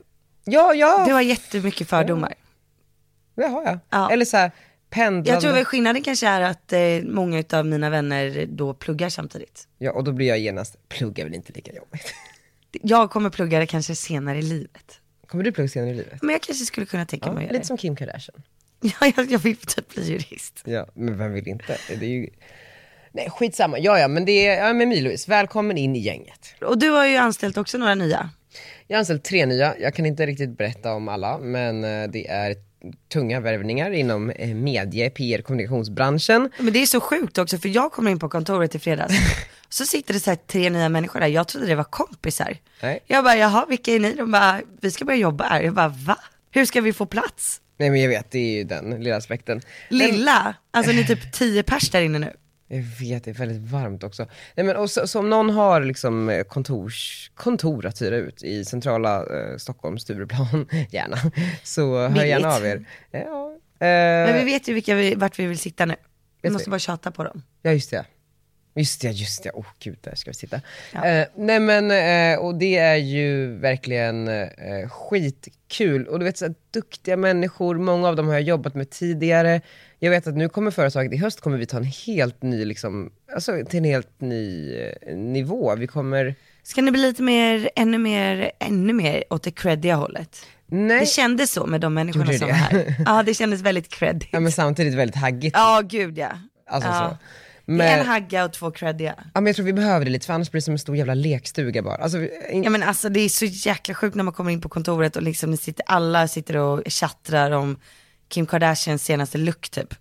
S1: ja, ja,
S2: Du har jättemycket fördomar.
S1: det har jag.
S2: Ja.
S1: Eller så här, pendlande.
S2: Jag tror väl skillnaden kanske är att eh, många av mina vänner då pluggar samtidigt.
S1: Ja, och då blir jag genast, plugga är väl inte lika jobbigt.
S2: Jag kommer plugga det kanske senare i livet.
S1: Kommer du plugga senare i livet?
S2: Men jag kanske skulle kunna tänka
S1: Ja,
S2: mig att
S1: lite
S2: göra det.
S1: som Kim Kardashian.
S2: Ja, jag, jag vill typ bli jurist.
S1: Ja, men vem vill inte? Det är ju... Nej, skitsamma. Ja, ja, men det är, ja, men My-Louise, välkommen in i gänget.
S2: Och du har ju anställt också några nya.
S1: Jag har anställt tre nya. Jag kan inte riktigt berätta om alla, men eh, det är tunga värvningar inom eh, medie, PR, kommunikationsbranschen.
S2: Men det är så sjukt också för jag kommer in på kontoret i fredags. Så sitter det så här tre nya människor där, jag trodde det var kompisar.
S1: Nej.
S2: Jag bara, jaha vilka är ni? De bara, vi ska börja jobba här. Jag bara, va? Hur ska vi få plats?
S1: Nej men jag vet, det är ju den lilla aspekten.
S2: Lilla, alltså ni är typ tio pers där inne nu.
S1: Jag vet, det är väldigt varmt också. Nej, men, och så, så om någon har liksom eh, kontors, kontor att hyra ut i centrala eh, Stockholm, Stureplan, gärna, så hör
S2: Billigt.
S1: gärna av er. Ja,
S2: Men vi
S1: eh,
S2: vet ju vilka vi, vart vi vill sitta nu. Vi
S1: Vet
S2: måste
S1: vi.
S2: bara tjata på dem.
S1: ja just det. Just det, just det. Åh oh, gud, där ska vi sitta. Eh, nej men, eh, och det är ju verkligen eh, skitkul. Och du vet, så här, duktiga människor, många av dem har jag jobbat med tidigare. Jag vet att nu kommer företaget, i höst kommer vi ta en helt ny, liksom, alltså till en helt ny eh, nivå. Vi kommer
S2: Ska ni bli lite mer, ännu mer, ännu mer åt det creddiga hållet?
S1: Nej,
S2: Det kändes så med de
S1: Gjorde
S2: människorna
S1: det
S2: som
S1: det?
S2: var här. Ja, det kändes väldigt creddigt.
S1: ja, men samtidigt väldigt haggigt.
S2: Ja, gud ja.
S1: Alltså,
S2: ja.
S1: så.
S2: Det är en
S1: Men,
S2: hagga och två creddiga.
S1: ja, men jag tror vi behöver det lite, för annars blir det som en stor jävla lekstuga bara. Alltså, vi- in,
S2: Ja men alltså det är så jäkla sjukt när man kommer in på kontoret och liksom ni sitter, alla sitter och tjattrar om Kim Kardashians senaste look typ.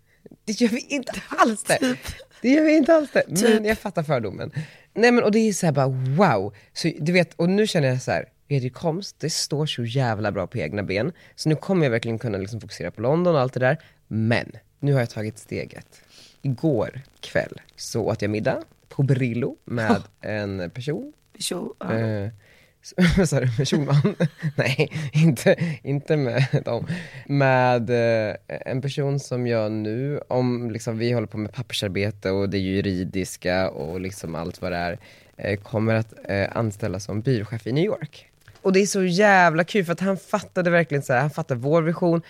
S1: Det gör vi inte alls det. Det gör vi inte alls det. Men jag fattar fördomen. Nej men och det är så här bara wow. Så, du vet, och nu känner jag så här, Erik Holms, det står så jävla bra på egna ben. Så nu kommer jag verkligen kunna liksom fokusera på London och allt det där. Men, nu har jag tagit steget. Igår kväll så åt jag middag på Brillo med en person
S2: Så, ja.
S1: Eh, s- Sa du med Schulman? Nej, inte, inte med dem. Med eh, en person som jag nu, om liksom, vi håller på med pappersarbete och det juridiska och liksom allt vad det är, eh, kommer att eh, anställa som byråchef i New York. Och det är så jävla kul för att han fattade verkligen så här, han fattar vår vision.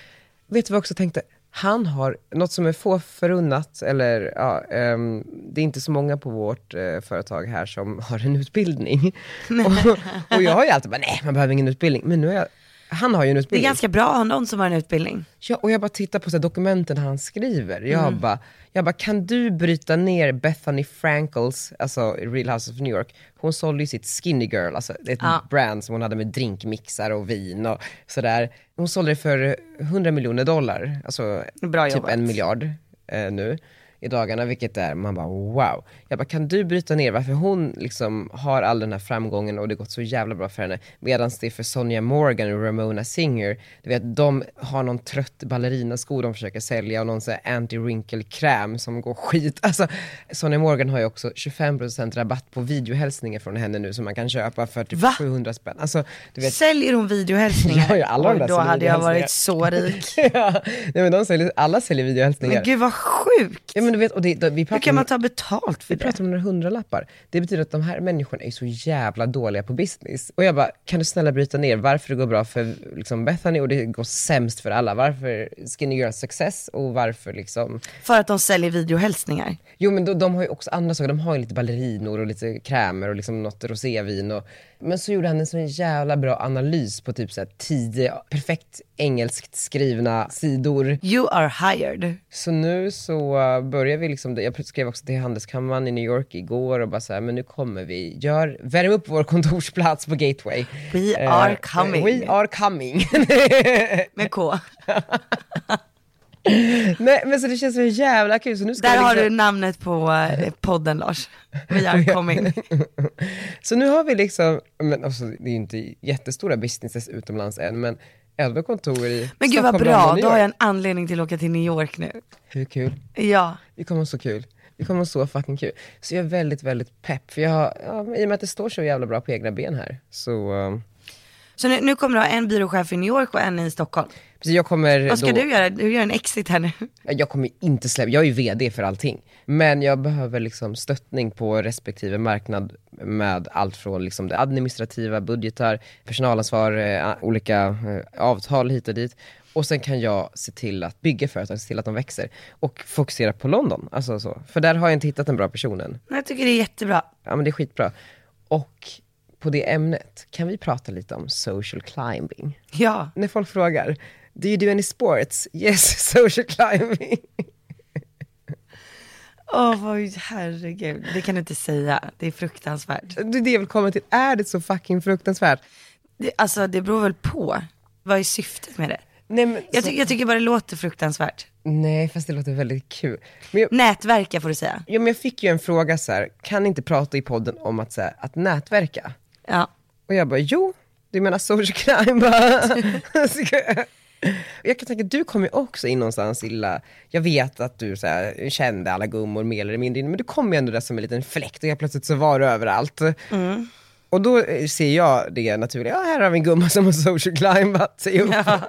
S1: Vet du vad jag också tänkte? Han har något som är få förunnat, eller ja, ehm, det är inte så många på vårt eh, företag här som har en utbildning. och, och jag har ju alltid bara, nej man behöver ingen utbildning. Men nu har jag, han har ju en
S2: Det är
S1: utbildning.
S2: ganska bra att ha någon som har en utbildning.
S1: Ja, och jag bara tittar på så här, dokumenten han skriver. Jag,
S2: Mm.
S1: bara, jag bara, kan du bryta ner Bethany Frankels, alltså Real House of New York. Hon sålde ju sitt Skinny Girl, alltså ett
S2: Ja.
S1: brand som hon hade med drinkmixar och vin och sådär. Hon sålde det för 100 miljoner dollar, alltså
S2: Bra
S1: typ
S2: jobbat.
S1: en miljard eh, nu i dagarna, vilket är, man bara wow. Jag bara, kan du bryta ner varför hon liksom har all den här framgången och det har gått så jävla bra för henne, medan det är för Sonja Morgan och Ramona Singer, du vet, de har någon trött ballerinasko de försöker sälja och någon sån här anti-wrinkle-kräm som går skit. Alltså, Sonja Morgan har ju också 25% rabatt på videohälsningar från henne nu som man kan köpa för typ
S2: Va?
S1: 700 spänn. Alltså, du vet,
S2: Säljer hon videohälsningar?
S1: Ja, ja, alla de
S2: Oj,
S1: där
S2: då
S1: säljer
S2: hade jag
S1: videohälsningar.
S2: varit så rik.
S1: ja, nej, men de säljer, alla säljer videohälsningar.
S2: Men gud vad sjukt.
S1: Ja men du vet, och det, det, vi
S2: Hur
S1: pratar
S2: kan
S1: om,
S2: man ta betalt för
S1: vi
S2: det?
S1: pratar om några hundralappar. Det betyder att de här människorna är så jävla dåliga på business. Och jag bara, kan du snälla bryta ner varför det går bra för liksom, Bethany och det går sämst för alla? Varför Skinny Girls success och varför liksom...
S2: För att de säljer videohälsningar.
S1: Jo men de, de har ju också andra saker, de har ju lite ballerinor och lite krämer och liksom något rosévin och... Men så gjorde han en sån jävla bra analys på typ så här tio perfekt engelskt skrivna sidor.
S2: You are hired.
S1: Så nu så eh, börjar vi liksom, det- jag skrev också till Handelskammaren i New York igår och bara så här, men nu kommer vi, gör, värm upp vår kontorsplats på Gateway.
S2: We
S1: Eh,
S2: are coming.
S1: We are coming.
S2: Med K.
S1: Nej men så det känns så jävla kul. Så nu ska
S2: Där
S1: vi
S2: har du
S1: liksom,
S2: namnet på eh, podden Lars. We are coming.
S1: Så nu har vi liksom, men alltså, det är ju inte jättestora businesses utomlands än, men elva kontor i
S2: Men gud vad
S1: Stockholm, London,
S2: bra,
S1: New
S2: då har jag
S1: York.
S2: en anledning till att åka till New York nu.
S1: Hur kul?
S2: Ja.
S1: Vi kommer ha så kul. Vi kommer ha så fucking kul. Så jag är väldigt, väldigt pepp. För jag har, ja, men i och med att det står så jävla bra på egna ben här, så eh,
S2: Så nu, nu kommer du ha en byråchef i New York och en i Stockholm.
S1: Precis, jag kommer
S2: Vad ska
S1: då,
S2: du göra? Du gör en exit här nu.
S1: Jag kommer inte släppa, jag är ju VD för allting. Men jag behöver liksom stöttning på respektive marknad med allt från liksom det administrativa, budgetar, personalansvar, eh, olika eh, avtal hit och dit. Och sen kan jag se till att bygga företag, se till att de växer. Och fokusera på London, alltså så. För där har jag inte hittat en bra person än.
S2: Men Jag tycker det är jättebra.
S1: Ja men det är skitbra. Och på det ämnet, kan vi prata lite om social climbing?
S2: Ja.
S1: när folk frågar, do you do any sports? Yes, social climbing.
S2: Åh vad, herregud. Det kan du inte säga. Det är fruktansvärt.
S1: Det är det jag vill komma till, är det så fucking fruktansvärt?
S2: Det, alltså det beror väl på. Vad är syftet med det?
S1: Nej, men,
S2: Jag,
S1: så-
S2: ty- jag tycker bara det låter fruktansvärt.
S1: nej, fast det låter väldigt kul. Men jag,
S2: Nätverka får du säga.
S1: ja, men jag fick ju en fråga så här, kan ni inte prata i podden om att, så här, att nätverka?
S2: Ja.
S1: Och jag bara, jo, du menar social crime? Bara, ska jag- Och jag kan tänka, du kom ju också in någonstans illa, jag vet att du så här, kände alla gummor mer eller mindre, men du kom ju ändå där som en liten fläkt och jag plötsligt så var du överallt.
S2: Mm.
S1: Och då eh, ser jag det naturligt, ja här har vi en gumma som har social climbat sig upp.
S2: Ja.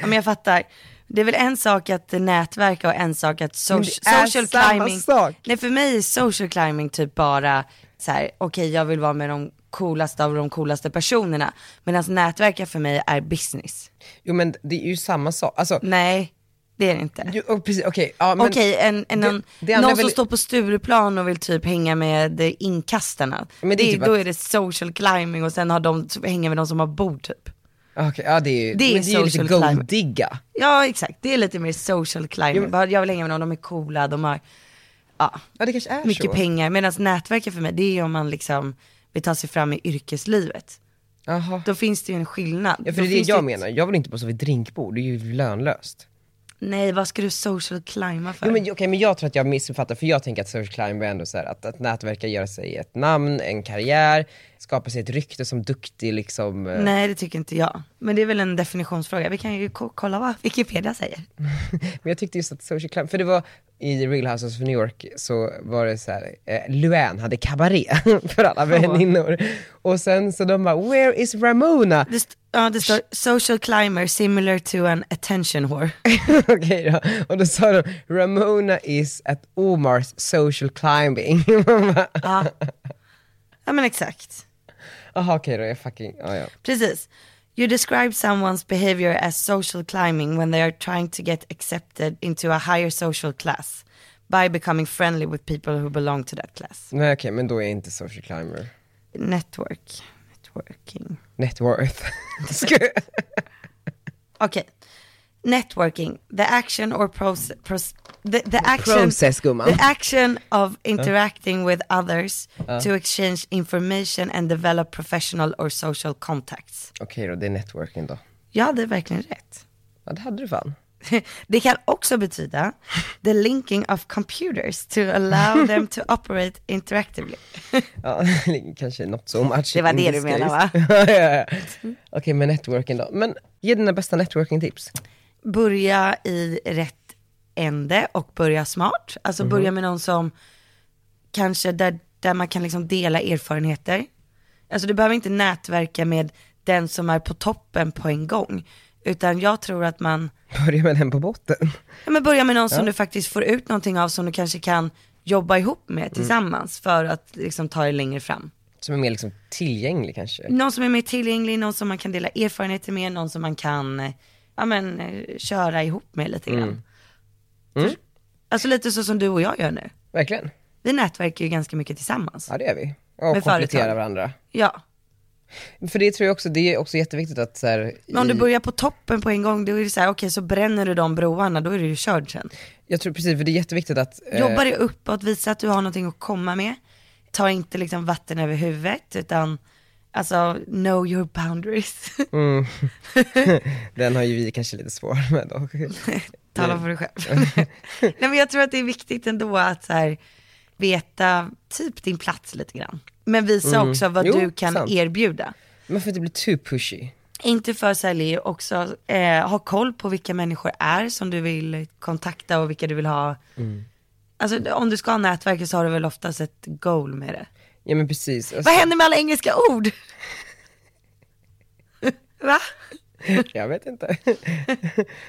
S2: ja, men jag fattar. Det är väl en sak att nätverka och en sak att so-
S1: Men det är
S2: social
S1: samma
S2: climbing.
S1: sak.
S2: Nej för mig är social climbing typ bara så här, okej jag vill vara med de coolaste av de coolaste personerna. Medan nätverka för mig är business.
S1: Jo men det är ju samma sak, alltså,
S2: Nej, det är det inte.
S1: jo, och precis, okej, ja, men,
S2: Okej, en, en,
S1: det-
S2: någon,
S1: det andra
S2: någon
S1: är
S2: som
S1: väl-
S2: står på Stureplan och vill typ hänga med eh, inkastarna.
S1: Men det är
S2: det,
S1: typ
S2: då
S1: att-
S2: är det social climbing och sen har de, hänga med de som har bord typ.
S1: okej, ja det är ju,
S2: Det är
S1: men det är ju lite
S2: social climbing.
S1: godigga.
S2: Ja exakt, det är lite mer social climbing. Bara, Jag vill hänga med någon, de är coola, de har ja,
S1: Ja det kanske är
S2: mycket
S1: så.
S2: pengar. Medan nätverket för mig, det är om man liksom vill ta sig fram i yrkeslivet.
S1: Jaha.
S2: Då finns det ju en skillnad.
S1: Ja, för
S2: Då
S1: det är det
S2: finns
S1: jag
S2: ett-
S1: menar, jag vill inte bo så vid drinkbord, det är ju lönlöst.
S2: Nej, vad ska du social climba för?
S1: Jo, men, okej, men jag tror att jag missuppfattar, för jag tänker att social climb är ändå så här att, att nätverka, göra sig ett namn, en karriär, skapa sig ett rykte som duktig liksom. eh,
S2: Nej, det tycker inte jag. Men det är väl en definitionsfråga. Vi kan ju ko- kolla vad Wikipedia säger.
S1: Men jag tyckte just att social climb, för det var i Real Houses of New York så var det så här, eh, Luan hade kabaré för alla väninnor. Och sen så de bara, where is Ramona?
S2: Det, st- ja, det står social climber similar to an attention whore.
S1: Okej då. Och då sa de, Ramona is at Omar's social climbing. Man bara,
S2: Ja men exakt.
S1: Jaha okej då, jag fucking, ja ja.
S2: Precis. You describe someone's behavior as social climbing when they are trying to get accepted into a higher social class by becoming friendly with people who belong to that class.
S1: Nej okej, men då är jag inte social climber.
S2: Network. Networking.
S1: Net worth. Ska jag-
S2: Okej. Networking. The action or process. the, the action.
S1: Process, gumman.
S2: The action of interacting with others to exchange information and develop professional or social contacts.
S1: Okej då, det är networking då.
S2: Jag hade verkligen rätt.
S1: Ja, det hade du fan.
S2: Det kan också betyda the linking of computers to allow them to operate interactively.
S1: Ja, kanske not so much.
S2: Det var
S1: in
S2: det
S1: this
S2: du menade,
S1: case. ja, ja, ja. Okej, men networking då. Men ge dina bästa networking-tips.
S2: Börja i rätt ände och börja smart. Alltså börja med någon som kanske där, där man kan liksom dela erfarenheter. Alltså du behöver inte nätverka med den som är på toppen på en gång. Utan jag tror att man,
S1: Börja med den på botten.
S2: ja, men börja med någon som du faktiskt får ut någonting av som du kanske kan jobba ihop med tillsammans för att liksom ta dig längre fram.
S1: Som är mer liksom tillgänglig kanske.
S2: Någon som är mer tillgänglig, någon som man kan dela erfarenheter med, någon som man kan eh, ja, men, eh, köra ihop med lite grann.
S1: Mm.
S2: För- Alltså lite så som du och jag gör nu.
S1: Verkligen.
S2: Vi nätverkar ju ganska mycket tillsammans.
S1: Ja, det gör vi. Och
S2: Med
S1: komplettera
S2: företag.
S1: varandra.
S2: Ja,
S1: För det tror jag också, det är också jätteviktigt att så här,
S2: men om
S1: i-
S2: du börjar på toppen på en gång, då är det så här, okej så bränner du de broarna, då är du ju körd sen.
S1: Jag tror precis, för det är jätteviktigt att... eh,
S2: Jobba dig uppåt, visa att du har någonting att komma med. Ta inte liksom vatten över huvudet, utan alltså know your boundaries.
S1: Den har ju vi kanske lite svårare med dock.
S2: Tala för dig själv. Nej men jag tror att det är viktigt ändå att så här, veta typ din plats lite grann. Men visa också vad
S1: Mm. Jo,
S2: du kan
S1: sant.
S2: erbjuda.
S1: Man får inte bli too pushy.
S2: Inte för sälj, också eh, ha koll på vilka människor är som du vill kontakta och vilka du vill ha.
S1: Mm.
S2: Alltså om du ska ha nätverk så har du väl oftast ett goal med det.
S1: Ja men precis. Alltså,
S2: Vad händer med alla engelska ord? Va?
S1: Jag vet inte.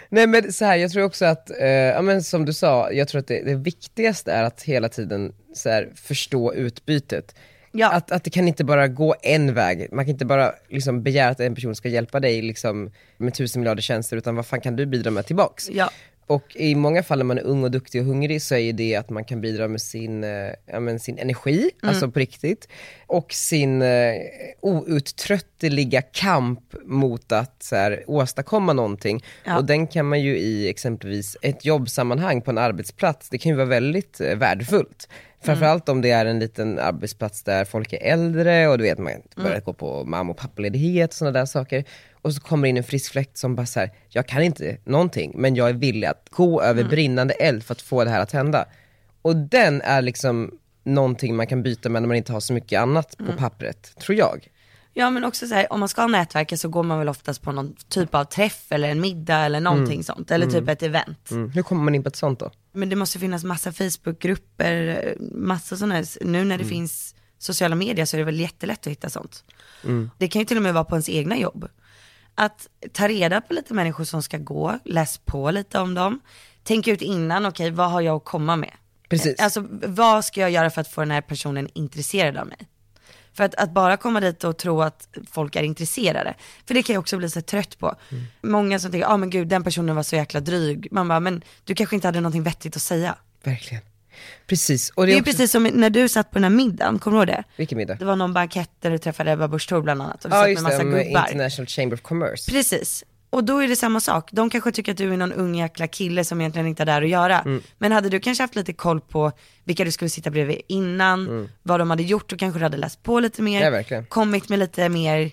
S1: Nej men så här, jag tror också att, eh, ja, men som du sa, jag tror att det, det viktigaste är att hela tiden så här, förstå utbytet.
S2: Ja.
S1: Att, att det kan inte bara gå en väg, man kan inte bara liksom, begära att en person ska hjälpa dig liksom, med tusen miljarder tjänster, utan vad fan kan du bidra med tillbaks?
S2: Ja.
S1: Och i många fall när man är ung och duktig och hungrig så är ju det att man kan bidra med sin, eh, ja, men sin energi, alltså på riktigt, och sin eh, outtröttliga kamp mot att så här, åstadkomma någonting. Och den kan man ju i exempelvis ett jobbsammanhang på en arbetsplats, det kan ju vara väldigt eh, värdefullt. Framförallt om det är en liten arbetsplats där folk är äldre och du vet man börjar
S2: Mm.
S1: gå på mamma och pappaledighet och sådana där saker. Och så kommer in en frisk fläkt som bara såhär, jag kan inte någonting men jag är villig att gå över
S2: Mm.
S1: brinnande eld för att få det här att hända. Och den är liksom någonting man kan byta med när man inte har så mycket annat
S2: Mm.
S1: på pappret, tror jag.
S2: Ja men också så här, om man ska nätverka så går man väl oftast på någon typ av träff eller en middag eller någonting sånt. Eller typ ett event.
S1: Mm. Hur kommer man in på ett sånt då?
S2: Men det måste finnas massa Facebookgrupper, massa sådana här, nu
S1: Mm.
S2: när det finns sociala medier så är det väl jättelätt att hitta sånt.
S1: Mm.
S2: Det kan ju till och med vara på ens egna jobb. Att ta reda på lite människor som ska gå, läs på lite om dem, tänk ut innan, okej vad har jag att komma med?
S1: Precis.
S2: Alltså vad ska jag göra för att få den här personen intresserad av mig? För att, att bara komma dit och tro att folk är intresserade, för det kan jag också bli så trött på.
S1: Mm.
S2: Många som tänker, ja ah, men gud den personen var så jäkla dryg. Man bara, men du kanske inte hade någonting vettigt att säga.
S1: Verkligen. Precis. Och
S2: Det
S1: det
S2: är
S1: är
S2: ju
S1: också...
S2: precis som när du satt på den här middagen, kommer du ihåg det?
S1: Vilken middag?
S2: Det var någon bankett där du träffade Ebba Busch Thor bland annat och du
S1: Ja
S2: satt med
S1: just
S2: massa
S1: det, med
S2: gubbar.
S1: International Chamber of Commerce.
S2: Precis. Och då är det samma sak. De kanske tycker att du är någon ung jäkla kille som egentligen inte är där att göra.
S1: Mm.
S2: Men hade du kanske haft lite koll på vilka du skulle sitta bredvid innan, vad de hade gjort och kanske du hade läst på lite mer.
S1: Mm. Ja, verkligen.
S2: Kommit med lite mer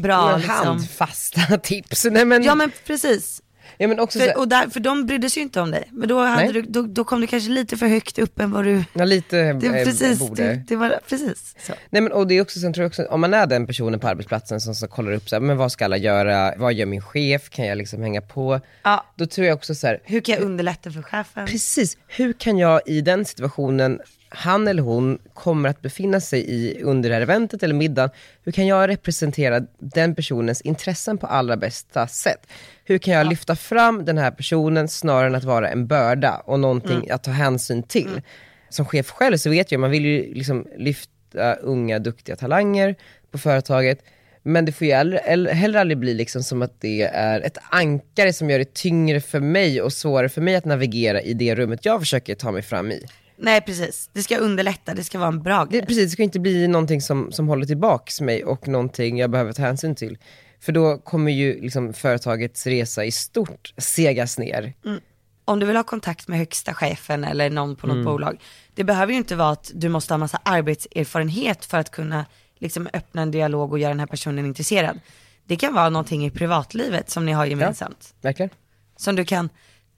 S2: bra
S1: Några
S2: liksom.
S1: handfasta tips. Nej, men,
S2: Ja men precis.
S1: ja, men också så här-
S2: För, och där, för de brydde sig ju inte om dig. Men då, hade
S1: Nej.
S2: du, då, då kom du kanske lite för högt upp än vad du...
S1: Ja, lite
S2: Det,
S1: eh,
S2: precis,
S1: borde.
S2: det, det var precis så.
S1: Nej, men, och det är också, sen tror jag också, om man är den personen på arbetsplatsen som så kollar upp så här, men vad ska alla göra, vad gör min chef, kan jag liksom hänga på?
S2: Ja.
S1: Då tror jag också så här,
S2: Hur kan jag underlätta för chefen?
S1: precis, hur kan jag i den situationen han eller hon kommer att befinna sig i under det här eventet eller middagen, hur kan jag representera den personens intressen på allra bästa sätt? Hur kan jag lyfta fram den här personen snarare än att vara en börda och någonting att ta hänsyn till? Som chef själv så vet jag, man vill ju liksom lyfta unga duktiga talanger på företaget, men det får ju heller, heller- heller aldrig bli liksom som att det är ett ankare som gör det tyngre för mig och svårare för mig att navigera i det rummet jag försöker ta mig fram i.
S2: Nej precis, det ska underlätta, det ska vara en bra
S1: Det,
S2: grej.
S1: precis, det ska inte bli någonting som, som håller tillbaks mig och någonting jag behöver ta hänsyn till. För då kommer ju liksom företagets resa i stort segas ner.
S2: Mm. Om du vill ha kontakt med högsta chefen eller någon på något
S1: Mm.
S2: bolag, det behöver ju inte vara att du måste ha massa arbetserfarenhet för att kunna liksom, öppna en dialog och göra den här personen intresserad. Det kan vara någonting i privatlivet som ni har gemensamt.
S1: Verkligen?
S2: Som du kan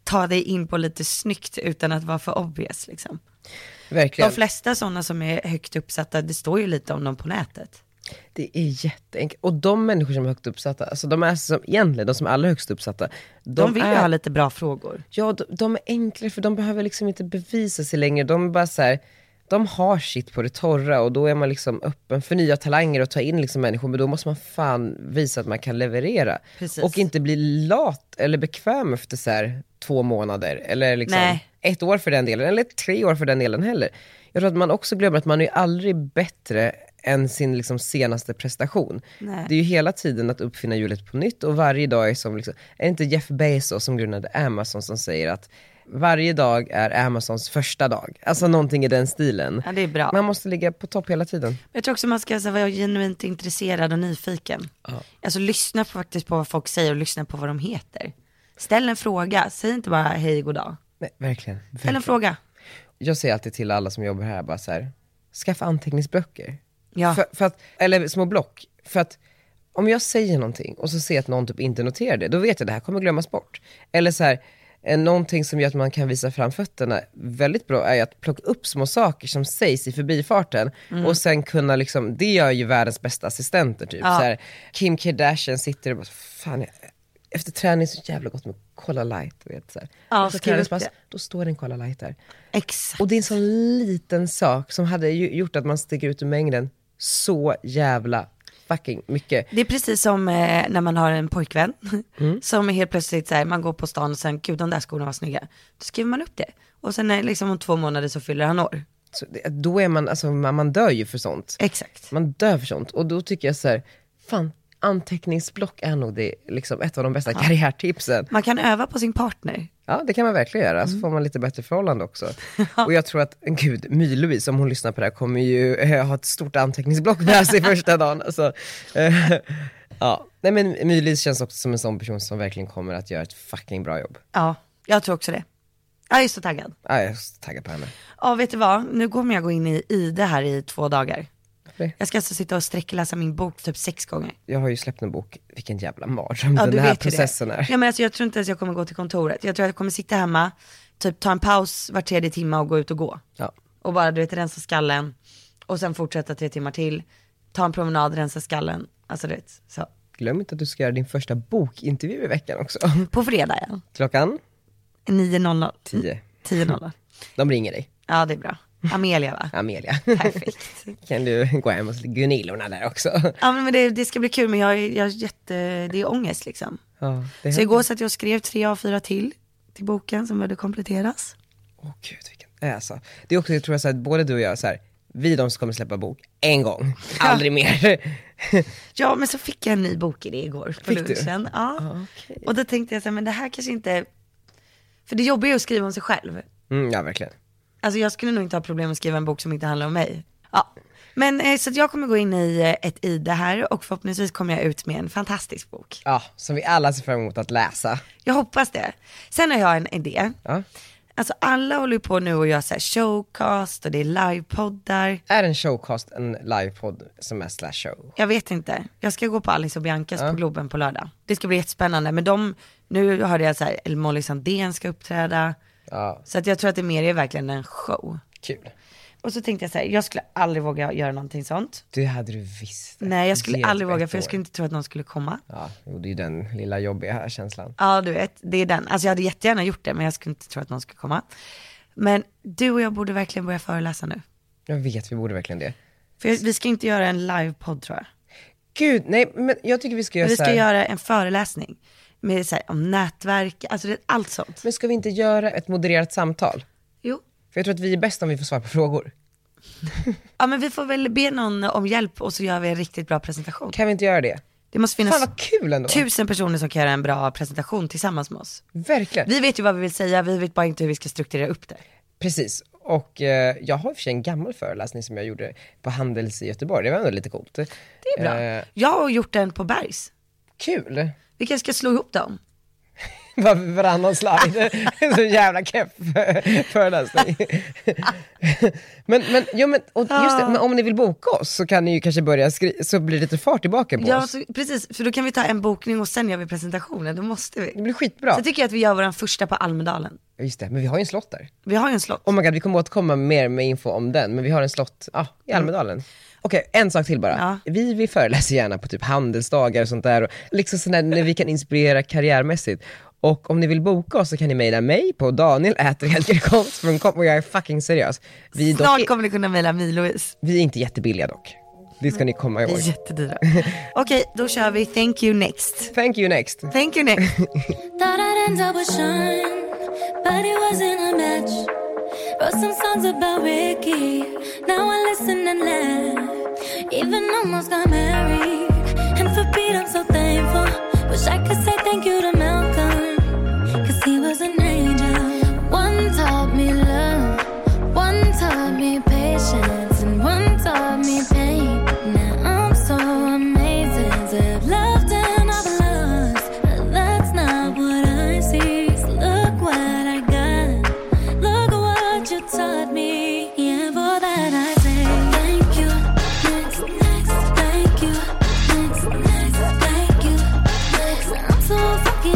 S2: ta dig in på lite snyggt utan att vara för obvious liksom.
S1: Verkligen.
S2: De flesta sådana som är högt uppsatta, det står ju lite om dem på nätet.
S1: Det är jätteenkelt. Och de människor som är högt uppsatta, alltså de är som, egentligen de som är allra högst uppsatta, de,
S2: De vill ju
S1: är
S2: ha lite bra frågor.
S1: Ja, de, de är enklare för de behöver liksom inte bevisa sig längre. De är bara så här, de har sitt på det torra och då är man liksom öppen för nya talanger och ta in liksom människor. Men då måste man fan visa att man kan leverera.
S2: Precis.
S1: Och inte bli lat eller bekväm efter så här två månader. Eller liksom
S2: Nej.
S1: ett år för den delen, eller tre år för den delen heller. Jag tror att man också glömmer att man är ju aldrig bättre än sin liksom senaste prestation.
S2: Nej.
S1: Det är ju hela tiden att uppfinna hjulet på nytt och varje dag är som, liksom, är det inte Jeff Bezos som grundade Amazon som säger att varje dag är Amazons första dag? Alltså någonting i den stilen.
S2: Ja, det är bra.
S1: Man måste ligga på topp hela tiden.
S2: Jag tror också man ska så här, vara genuint intresserad och nyfiken. Alltså lyssna på, faktiskt på vad folk säger och lyssna på vad de heter. Ställ en fråga, säg inte bara hej, god dag.
S1: Nej, verkligen.
S2: Ställ en
S1: verkligen.
S2: fråga.
S1: Jag säger alltid till alla som jobbar här, bara så här, skaffa anteckningsböcker.
S2: Ja.
S1: För, för att, eller små block. För att om jag säger någonting och så ser jag att någon typ inte noterar det, då vet jag att det här kommer glömmas bort. Eller så här, eh, någonting som gör att man kan visa fram fötterna väldigt bra är ju att plocka upp små saker som sägs i förbifarten
S2: Mm.
S1: och sen kunna liksom, det gör ju världens bästa assistenter typ. Så här, Kim Kardashian sitter och bara, fan jag, efter träning så jävla gott med Cola light, du vet så här.
S2: Ja,
S1: Och så
S2: skriv upp
S1: träningspass,
S2: det.
S1: Då står det en Cola light där.
S2: Exakt.
S1: Och det är en sån liten sak som hade ju gjort att man sticker ut ur mängden så jävla fucking mycket.
S2: Det är precis som eh, när man har en pojkvän som är helt plötsligt så här, man går på stan och sen, gud de där skorna var snygga. Då skriver man upp det. Och sen eh, liksom om två månader så fyller han år.
S1: Så det, då är man, alltså man, man dör ju för sånt.
S2: Exakt.
S1: Man dör för sånt. Och då tycker jag så här, fan anteckningsblock är nog det, liksom ett av de bästa karriärtipsen.
S2: Man kan öva på sin partner.
S1: Ja, det kan man verkligen göra.
S2: Mm.
S1: Så får man lite bättre förhållande också. Och jag tror att, gud, My-Louise, om hon lyssnar på det här, kommer ju eh, ha ett stort anteckningsblock med sig första dagen. Alltså, eh, ja. Nej men My-Louise känns också som en sån person som verkligen kommer att göra ett fucking bra jobb.
S2: Ja, jag tror också det. Jag är så taggad.
S1: Ja, jag är så taggad på henne.
S2: Ja, vet du vad? Nu kommer jag gå in i, i det här i två dagar.
S1: Det-
S2: Jag ska alltså sitta och sträckläsa min bok typ sex gånger.
S1: Jag har ju släppt en bok, vilken jävla mardröm
S2: Ja,
S1: den
S2: du
S1: här
S2: vet ju
S1: processen
S2: det.
S1: är.
S2: Ja, men alltså, jag tror inte ens jag kommer gå till kontoret. Jag tror att jag kommer sitta hemma, typ ta en paus var tredje timme och gå ut och gå.
S1: Ja.
S2: Och bara du vet rensa skallen och sen fortsätta tre timmar till. Ta en promenad, rensa skallen. Alltså du vet, så.
S1: Glöm inte att du ska göra din första bokintervju i veckan också.
S2: På fredag ja.
S1: Klockan
S2: 9.00.
S1: 10.
S2: 10.00.
S1: De ringer dig,
S2: Ja det är bra. Amelia va?
S1: Amelia.
S2: Perfekt.
S1: kan du gå hem hos Gunillorna där också.
S2: Ja men det, det ska bli kul men jag, är- jag är jätte, det är ångest liksom.
S1: Ja, det
S2: Så igår satt jag och skrev tre av fyra till, till boken som behövde kompletteras.
S1: Åh gud, vilken... Nej, Alltså, det är också, jag tror så här, att både du och jag, är så här, vi är de som kommer släppa bok en gång, aldrig mer.
S2: Ja men så fick jag en ny bokidé igår på
S1: Fick du? Ah,
S2: lunchen. Ja. Och då tänkte jag så här, men det här kanske inte, för det jobbiga är att skriva om sig själv.
S1: Mm, ja, verkligen.
S2: Alltså jag skulle nog inte ha problem att skriva en bok som inte handlar om mig. Ja. Men eh, så att jag kommer gå in i eh, ett ide här och förhoppningsvis kommer jag ut med en fantastisk bok.
S1: Ja, som vi alla ser fram emot att läsa.
S2: Jag hoppas det. Sen har jag en idé.
S1: Ja.
S2: Alltså alla håller ju på nu och gör så här showcast och det är livepoddar.
S1: Är en showcast en livepodd som är slash show?
S2: Jag vet inte. Jag ska gå på Alice och Biancas på Globen på lördag. Det ska bli jättespännande. Men de, nu hörde jag så här, eller Molly Sandén ska uppträda.
S1: Ja,
S2: Så att jag tror att det mer är verkligen en show.
S1: kul.
S2: Och så tänkte jag så här, jag skulle aldrig våga göra någonting sånt.
S1: Det hade du visst.
S2: Nej jag
S1: Ge
S2: skulle
S1: det
S2: aldrig våga
S1: ett
S2: för jag
S1: år.
S2: skulle inte tro att någon skulle komma.
S1: Ja, jo, det är ju den lilla jobbiga här känslan.
S2: Ja du vet, det är den. Alltså jag hade jättegärna gjort det men jag skulle inte tro att någon skulle komma. Men du och jag borde verkligen börja föreläsa nu.
S1: Jag vet, vi borde verkligen det.
S2: För jag- vi ska inte göra en livepodd tror jag.
S1: Gud, nej men jag tycker vi ska göra
S2: Vi
S1: så
S2: ska
S1: här,
S2: göra en föreläsning med, så här, om nätverk, alltså det, allt sånt.
S1: men ska vi inte göra ett modererat samtal?
S2: Jo.
S1: För jag tror att vi är bäst om vi får svar på frågor.
S2: Ja men vi får väl be någon om hjälp och så gör vi en riktigt bra presentation.
S1: Kan vi inte göra det?
S2: Det måste finnas
S1: Fan vad kul ändå.
S2: tusen personer som kan göra en bra presentation tillsammans med oss.
S1: Verkligen.
S2: Vi vet ju vad vi vill säga, vi vet bara inte hur vi ska strukturera upp det.
S1: Precis. Och eh, jag har i och för sig en gammal föreläsning som jag gjorde på Handels i Göteborg. Det var ändå lite coolt. Det är
S2: Bra. Jag har gjort en på Bergs.
S1: kul.
S2: Vi kanske ska slå ihop dem.
S1: Var, varannan slide. så jävla keff föreläsning. men, men, ja, men, och just det, men om ni vill boka oss så kan ni ju kanske börja skriva, så blir det lite fart i baken på
S2: Ja,
S1: oss.
S2: så, precis, för då kan vi ta en bokning och sen gör vi presentationen, då måste vi.
S1: Det blir skitbra.
S2: Så tycker jag att vi gör vår första på Almedalen.
S1: Just det, men vi har ju en slott där.
S2: Vi har ju en slott.
S1: Oh my god, vi kommer återkomma mer med info om den, men vi har en slott ah, i Almedalen. Okej, en sak till bara.
S2: Mm. Ja.
S1: Vi, vi föreläser gärna på typ handelsdagar och sånt där, och liksom sådär när vi kan inspirera karriärmässigt. Och om ni vill boka oss så kan ni mejla mig på daniel.helgerkonst.com och jag är fucking seriös. Vi är,
S2: Snart
S1: dock,
S2: kommer ni kunna mejla mig Louise.
S1: vi är inte jättebilliga dock. Det ska ni komma
S2: Vi
S1: ihåg.
S2: är jättedyra. Okej, då kör vi Thank you next.
S1: Thank you next.
S2: Thank you next.
S7: Thought I'd end up with Sean, but it wasn't a match. Wrote some songs about Ricky, now I listen and laugh. Even almost got married, and for Pete I'm so thankful. Wish I could say thank you to Malcolm, cause he was an angel. One taught me love, one taught me patience, and one taught me pain. Now I'm so amazing to have loved and I've lost, but that's not what I see. So look what I got, look what you taught me. Yeah, for that I say thank you. Next, next, thank you. Next, next, thank you. Next, I'm so fucking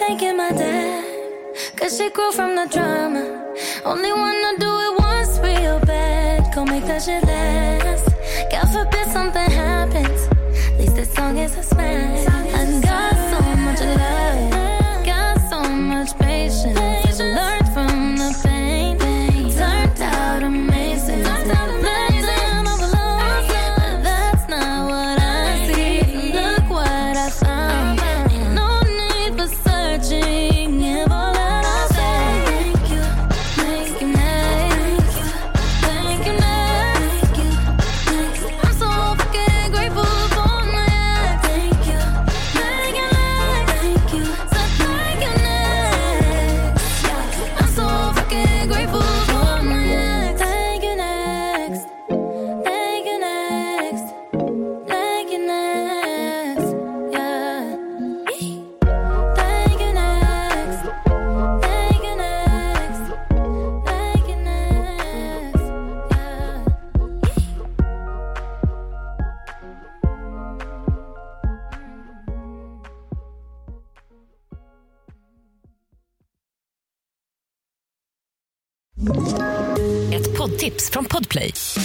S7: thanking my dad. Cause she grew from the drama. Only wanna do it once real bad. Go make that shit last. God forbid something happens. At least this song is a smash. I got so much love. Got so much patience. I've learned from the pain. It turned out amazing. Blessed I'm alone. But that's not what I see. Look what I found. Ain't no need for searching. Give all that I say. Thank you. Thank you, thank you, thank you, thank you. I'm so fucking grateful for my life. Thank you, thank you, thank you, so thank you, next. I'm so fucking grateful for my life. Thank you, next. Thank you, next. Thank you, next. Yeah. Thank you, next. Thank you, next. Thank you, next. Yeah.
S9: Ett poddtips från Podplay.